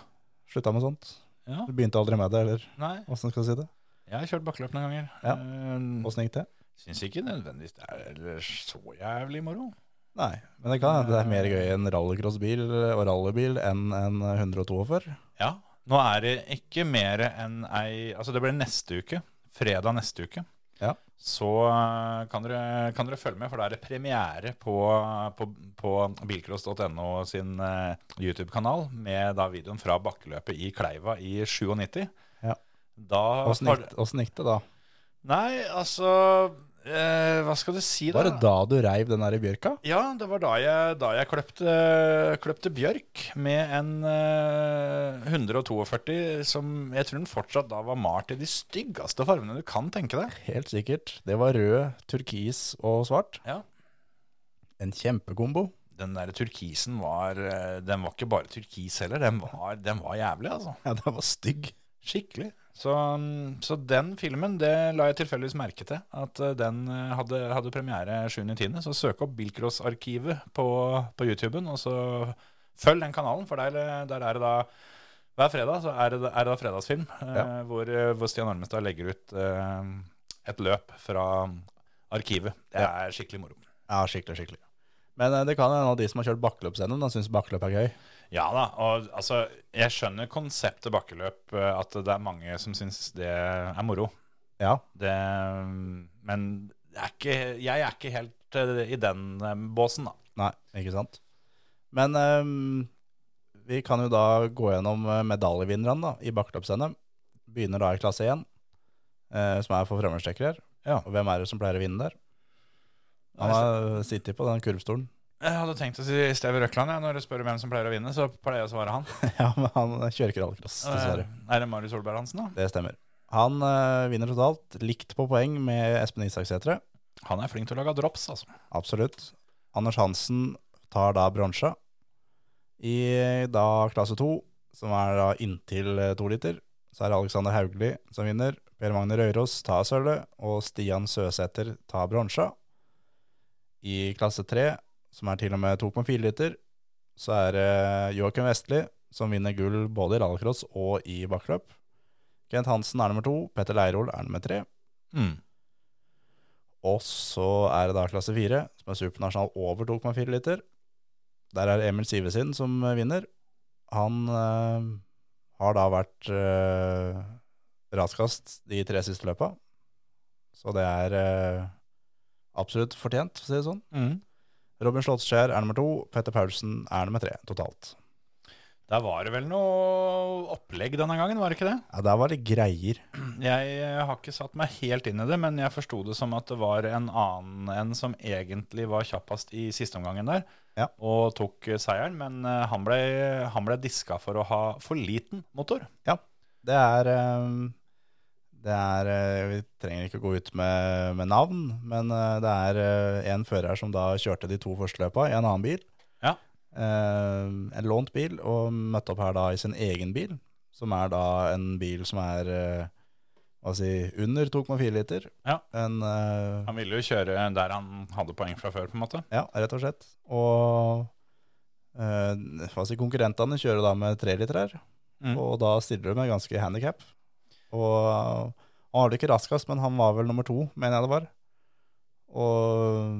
Slutta med sånt.
Ja.
Du begynte aldri med det, eller
Nei.
åssen skal du si det?
Jeg har kjørt bakkeløp noen ganger.
Ja.
Eh,
Åssen gikk det?
Syns ikke nødvendigvis det er så jævlig moro.
Nei, men det kan hende det er mer gøy en rallycrossbil eh, og rallybil enn en 142.
Ja, nå er det ikke mer enn ei Altså det blir neste uke, fredag neste uke.
Ja.
Så eh, kan dere, kan dere følge med, for da er det premiere på, på, på bilcross.no sin eh, YouTube-kanal med da videoen fra bakkeløpet i Kleiva i 97.
Ja.
Da
Åssen gikk, åssen gikk det da?
Nei, altså eh, Hva skal du si, da?
Var det da du reiv den der i bjørka?
Ja, det var da jeg, da jeg kløpte, kløpte bjørk med en eh, 142 som jeg tror den fortsatt da var malt i de styggeste fargene du kan tenke deg.
Helt sikkert. Det var rød, turkis og svart.
Ja.
En kjempekombo.
Den der turkisen var eh, Den var ikke bare turkis heller, den var, den var jævlig, altså.
Ja, den var stygg.
Skikkelig. Så, mm, så den filmen det la jeg tilfeldigvis merke til. At eh, den eh, hadde, hadde premiere 7.10. Så søk opp Bilcross-arkivet på, på YouTuben, og så følg den kanalen. For der, eh, der er det da hver fredag så er det, er det da fredagsfilm, eh,
Ja.
hvor, eh, hvor Stian Armestad legger ut eh, et løp fra mm, arkivet. Det er skikkelig moro.
Ja, skikkelig, skikkelig. Men eh, det kan hende at de som har kjørt bakkeløpsgjennom, da syns bakkeløp er gøy.
Ja da, og altså, jeg skjønner konseptet bakkeløp, eh, at det er mange som syns det er moro.
Ja,
Det, men jeg er ikke, jeg er ikke helt eh, i den eh, båsen, da.
nei, ikke sant. Men ehm, vi kan jo da gå gjennom eh, medaljevinnerne da, i bakkeløps-NM. Begynner da i klasse 1, eh, som er for fremmedstekkere.
Ja.
Og hvem er det som pleier å vinne der? Han har sittet på den kurvstolen.
Jeg hadde tenkt å si Steve Røkland. Jeg. Når du spør hvem som pleier å vinne, så pleier jeg å svare han. Eh,
ja, men han kjører ikke rallycross, dessverre.
Er det Marius Solberg Hansen, da?
Det stemmer. Han eh, vinner totalt, likt på poeng med Espen Isaksætre.
Han er flink til å lage drops, altså.
Absolutt. Anders Hansen tar da bronse i da klasse 2, som er da inntil eh, to liter. Så er det Alexander Haugli som vinner. Per Magne Røyrås tar sølvet, og Stian Søsæter tar bronse. I klasse 3, som er til og med 2,4 liter, så er det Joakim Vestli som vinner gull både i rallycross og i bakkeløp. Kent Hansen er nummer to, Petter Leirol er nummer tre.
Mm.
Og så er det da klasse 4, som er supernasjonal over 2,4 liter. Der er Emil Sivesin som eh, vinner. Han eh, har da vært eh, raskast de tre siste løpa. Så det er eh, absolutt fortjent, for å si det sånn.
Mm.
Robin Slottsskjær er nummer to, Petter Paulsen er nummer tre totalt.
Der var det vel noe opplegg denne gangen, var det ikke det?
Ja, der var det greier.
Jeg eh, har ikke satt meg helt inn i det, men jeg forsto det som at det var en annen enn som egentlig var kjappest i siste omgangen der,
Ja.
og tok eh, seieren. Men eh, han ble, han ble diska for å ha for liten motor.
Det er eh, Det er eh, Vi trenger ikke å gå ut med, med navn, men eh, det er eh, en fører her som da kjørte de to første løpa i en annen bil.
Ja.
Eh, en lånt bil, og møtte opp her da i sin egen bil, som er da en bil som er eh, hva skal jeg si, under 2,4 liter.
Ja.
En, eh,
Han ville jo kjøre der han hadde poeng fra før, på en måte.
ja, rett og slett. Og eh, hva skal jeg si, konkurrentene kjører da med 3 liter her.
Og-
Og da stiller du med ganske handikap. Og han var vel ikke raskest, men han var vel nummer to, mener jeg det var. Og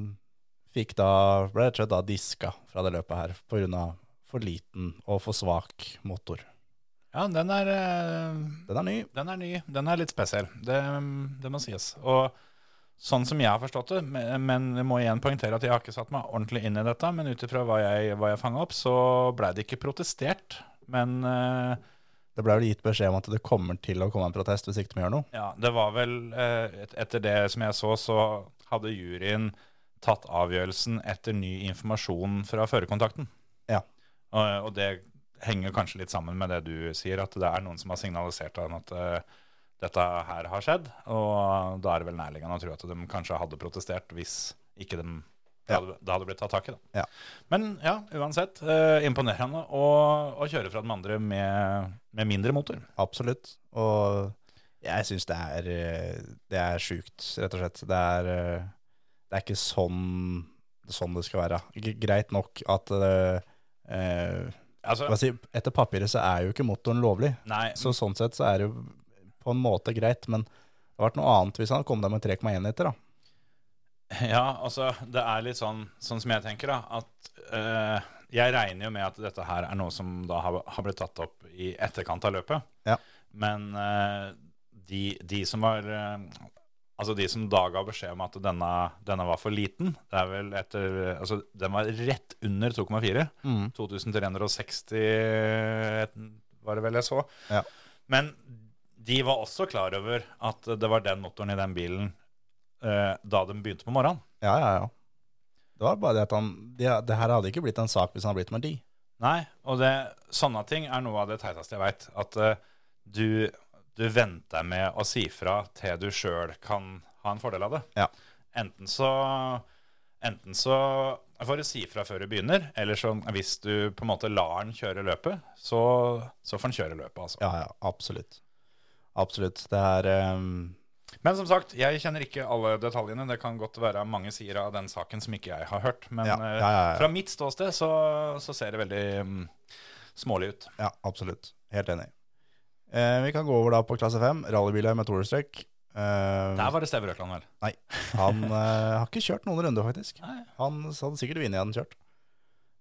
fikk da, ble rett og slett da diska fra det løpet her på grunn av for liten og for svak motor.
Ja, den er, eh,
Den er ny.
den er ny. Den er litt spesiell. Det, det må sies. Og sånn som jeg har forstått det, me- men jeg må igjen poengtere at jeg har ikke satt meg ordentlig inn i dette, men ut ifra hva jeg, hva jeg fanga opp, så blei det ikke protestert. Men eh,
Det ble vel gitt beskjed om at det kommer til å komme en protest hvis ikke de gjør noe.
Ja, det var vel eh, et- Etter det som jeg så, så hadde juryen tatt avgjørelsen etter ny informasjon fra førerkontakten.
Ja.
Og, og det henger kanskje litt sammen med det du sier, at det er noen som har signalisert han at eh, dette her har skjedd. Og da er det vel nærliggende å tro at de kanskje hadde protestert hvis ikke de det
Ja.
hadde, det hadde blitt tatt tak i. da.
Ja.
Men ja, uansett. eh, imponerende å, å kjøre fra den andre med, med mindre motor.
Absolutt. Og jeg syns det er eh, Det er sjukt, rett og slett. Det er, eh, det er ikke sånn, sånn det skal være. G greit nok at eh, eh,
Altså,
hva skal jeg si, Etter papiret så er jo ikke motoren lovlig.
nei,
Så sånn sett så er det jo på en måte greit, men det hadde vært noe annet hvis han hadde kommet der med 3,1 liter, da.
Ja, altså, det er litt sånn, sånn som jeg tenker, da, at eh, jeg regner jo med at dette her er noe som da har, har blitt tatt opp i etterkant av løpet.
Ja.
Men eh, de, de som var eh, Altså de som da ga beskjed om at denne, denne var for liten, det er vel etter Altså, den var rett under 2,4. 2360 et- var det vel jeg så.
Ja.
Men de var også klar over at det var den motoren i den bilen eh, da de begynte på morgenen.
Ja, ja, ja. Det var bare det at han Det, det her hadde ikke blitt en sak hvis han hadde blitt med de.
Nei, og det, sånne ting er noe av det teiteste jeg veit. At eh, du, du venter med å si fra til du sjøl kan ha en fordel av det.
Ja.
Enten så Enten så får du si fra før du begynner, eller så hvis du på en måte lar den kjøre løpet, så, så får den kjøre løpet, altså.
Ja, ja, absolutt. Absolutt. Det er ehm,
Men som sagt, jeg kjenner ikke alle detaljene. Det kan godt være mange sider av den saken som ikke jeg har hørt. Men
Ja,
eh,
ja, ja, ja.
fra mitt ståsted så, så ser det veldig mm, smålig ut.
Ja, absolutt. Helt enig. Eh, vi kan gå over da på klasse 5, rallybiler med toerstrekk. Eh,
Der var det Steve Røkland, vel.
Nei, han eh, har ikke kjørt noen runder, faktisk.
Nei.
Han hadde sikkert vunnet hadde han kjørt.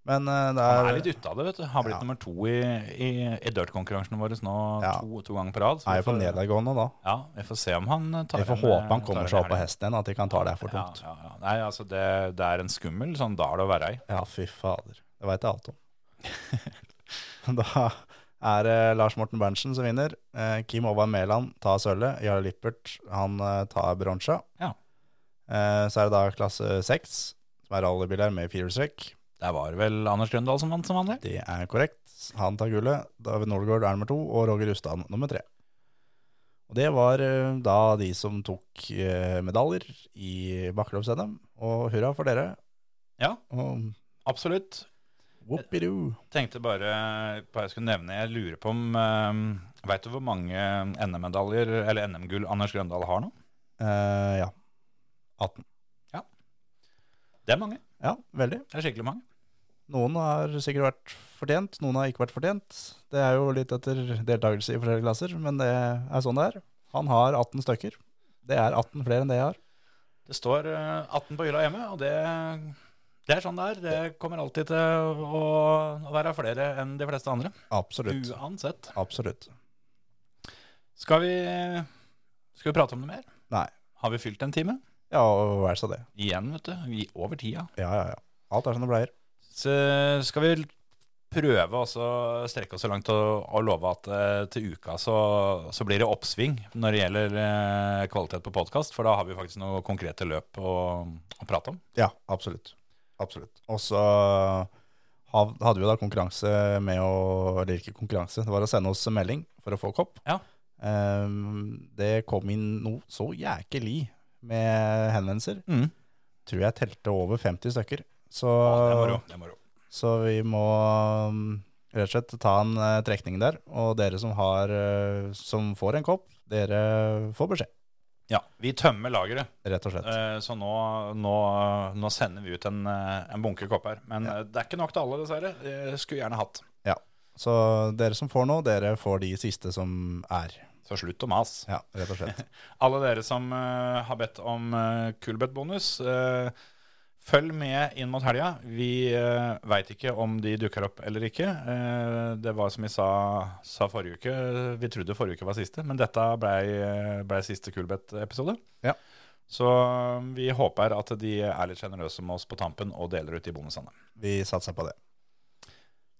Men eh, det er,
Han er litt ute av det, vet du. Har blitt
Ja.
nummer to i, i, i dirtkonkurransene våre nå
Ja.
to, to ganger på rad. så
er
vi
jo på
får-
nedadgående da.
Ja, vi får se om han tar
Vi får
en,
håpe
eh,
han kommer
tar
seg
en
opp på
helg.
hesten igjen, at de kan ta det her for tungt.
Ja, ja, ja. Nei, altså det, det er en skummel sånn dal å være i.
Ja, fy fader. Det veit jeg alt om. da er det Lars Morten Berntsen som vinner. Eh, Kim Ovar Mæland tar sølvet. Jarle Lippert han eh, tar bronsa.
Ja.
Eh, så er det da klasse seks, som er rallybiler med firehjulstrekk.
Der var det vel Anders Grøndal som vant som vanlig.
Det er korrekt. Han tar gullet. David Nordgaard er nummer to, og Roger Ustad nummer tre. Og det var eh, da de som tok eh, medaljer i bakkeløps-NM. Og hurra for dere.
Ja.
Og
Absolutt.
whoopidoo.
tenkte bare på jeg skulle nevne, jeg lurer på om eh, Vet du hvor mange NM-medaljer, eller NM-gull, Anders Grøndal har nå?
Eh, ja. 18.
Det er mange.
Ja, veldig.
Det er skikkelig mange.
Noen har sikkert vært fortjent, noen har ikke vært fortjent. Det er jo litt etter deltakelse i forskjellige klasser, men det er sånn det er. Han har 18 stykker. Det er 18 flere enn det jeg har.
Det står eh, 18 på hylla hjemme, og det, det er sånn det er. Det kommer alltid til å, å være flere enn de fleste andre.
Absolutt.
Uansett.
Absolutt.
Skal vi, skal vi prate om det mer?
Nei.
Har vi fylt en time?
Ja, og vær så det.
Igjen, vet du. Vi er over tida.
Ja, ja, ja. Alt er som det pleier.
Så eh, skal vi prøve også å strekke oss så langt og, og love at eh, til uka så, så blir det oppsving når det gjelder eh, kvalitet på podkast, for da har vi faktisk noe konkrete løp å, å prate om.
Ja, absolutt. Absolutt. Og så hav- hadde vi da konkurranse med å Eller ikke konkurranse, det var å sende oss melding for å få kopp.
Ja.
Ehm, det kom inn noe så jækelig med henvendelser.
Mm.
Tror jeg telte over 50 stykker. Så,
Det er moro. Det er moro.
så vi må mm, rett og slett ta en eh, trekning der. Og dere som, har, eh, som får en kopp, dere får beskjed,
Ja, vi tømmer lageret,
rett og slett.
eh, så nå, nå, nå sender vi ut en, eh, en bunke kopper. Men eh, det er ikke nok til alle, dessverre. Eh, Skulle gjerne hatt.
Så dere som får nå, dere får de siste som er.
Så slutt å mase.
Ja, rett og slett.
Alle dere som eh, har bedt om uh, Kulbeth-bonus, eh, følg med inn mot helga. Vi uh, veit ikke om de dukker opp eller ikke. Eh, det var som vi sa, sa forrige uke, vi trodde forrige uke var siste, men dette blei ble siste Kulbeth-episode.
Ja.
Så eh, vi håper at de er litt sjenerøse med oss på tampen og deler ut de bonusene.
Vi satser på det.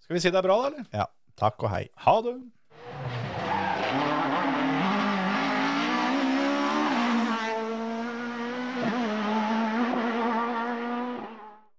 Skal vi si det er bra, da, eller?
Ja, takk og hei.
Ha det!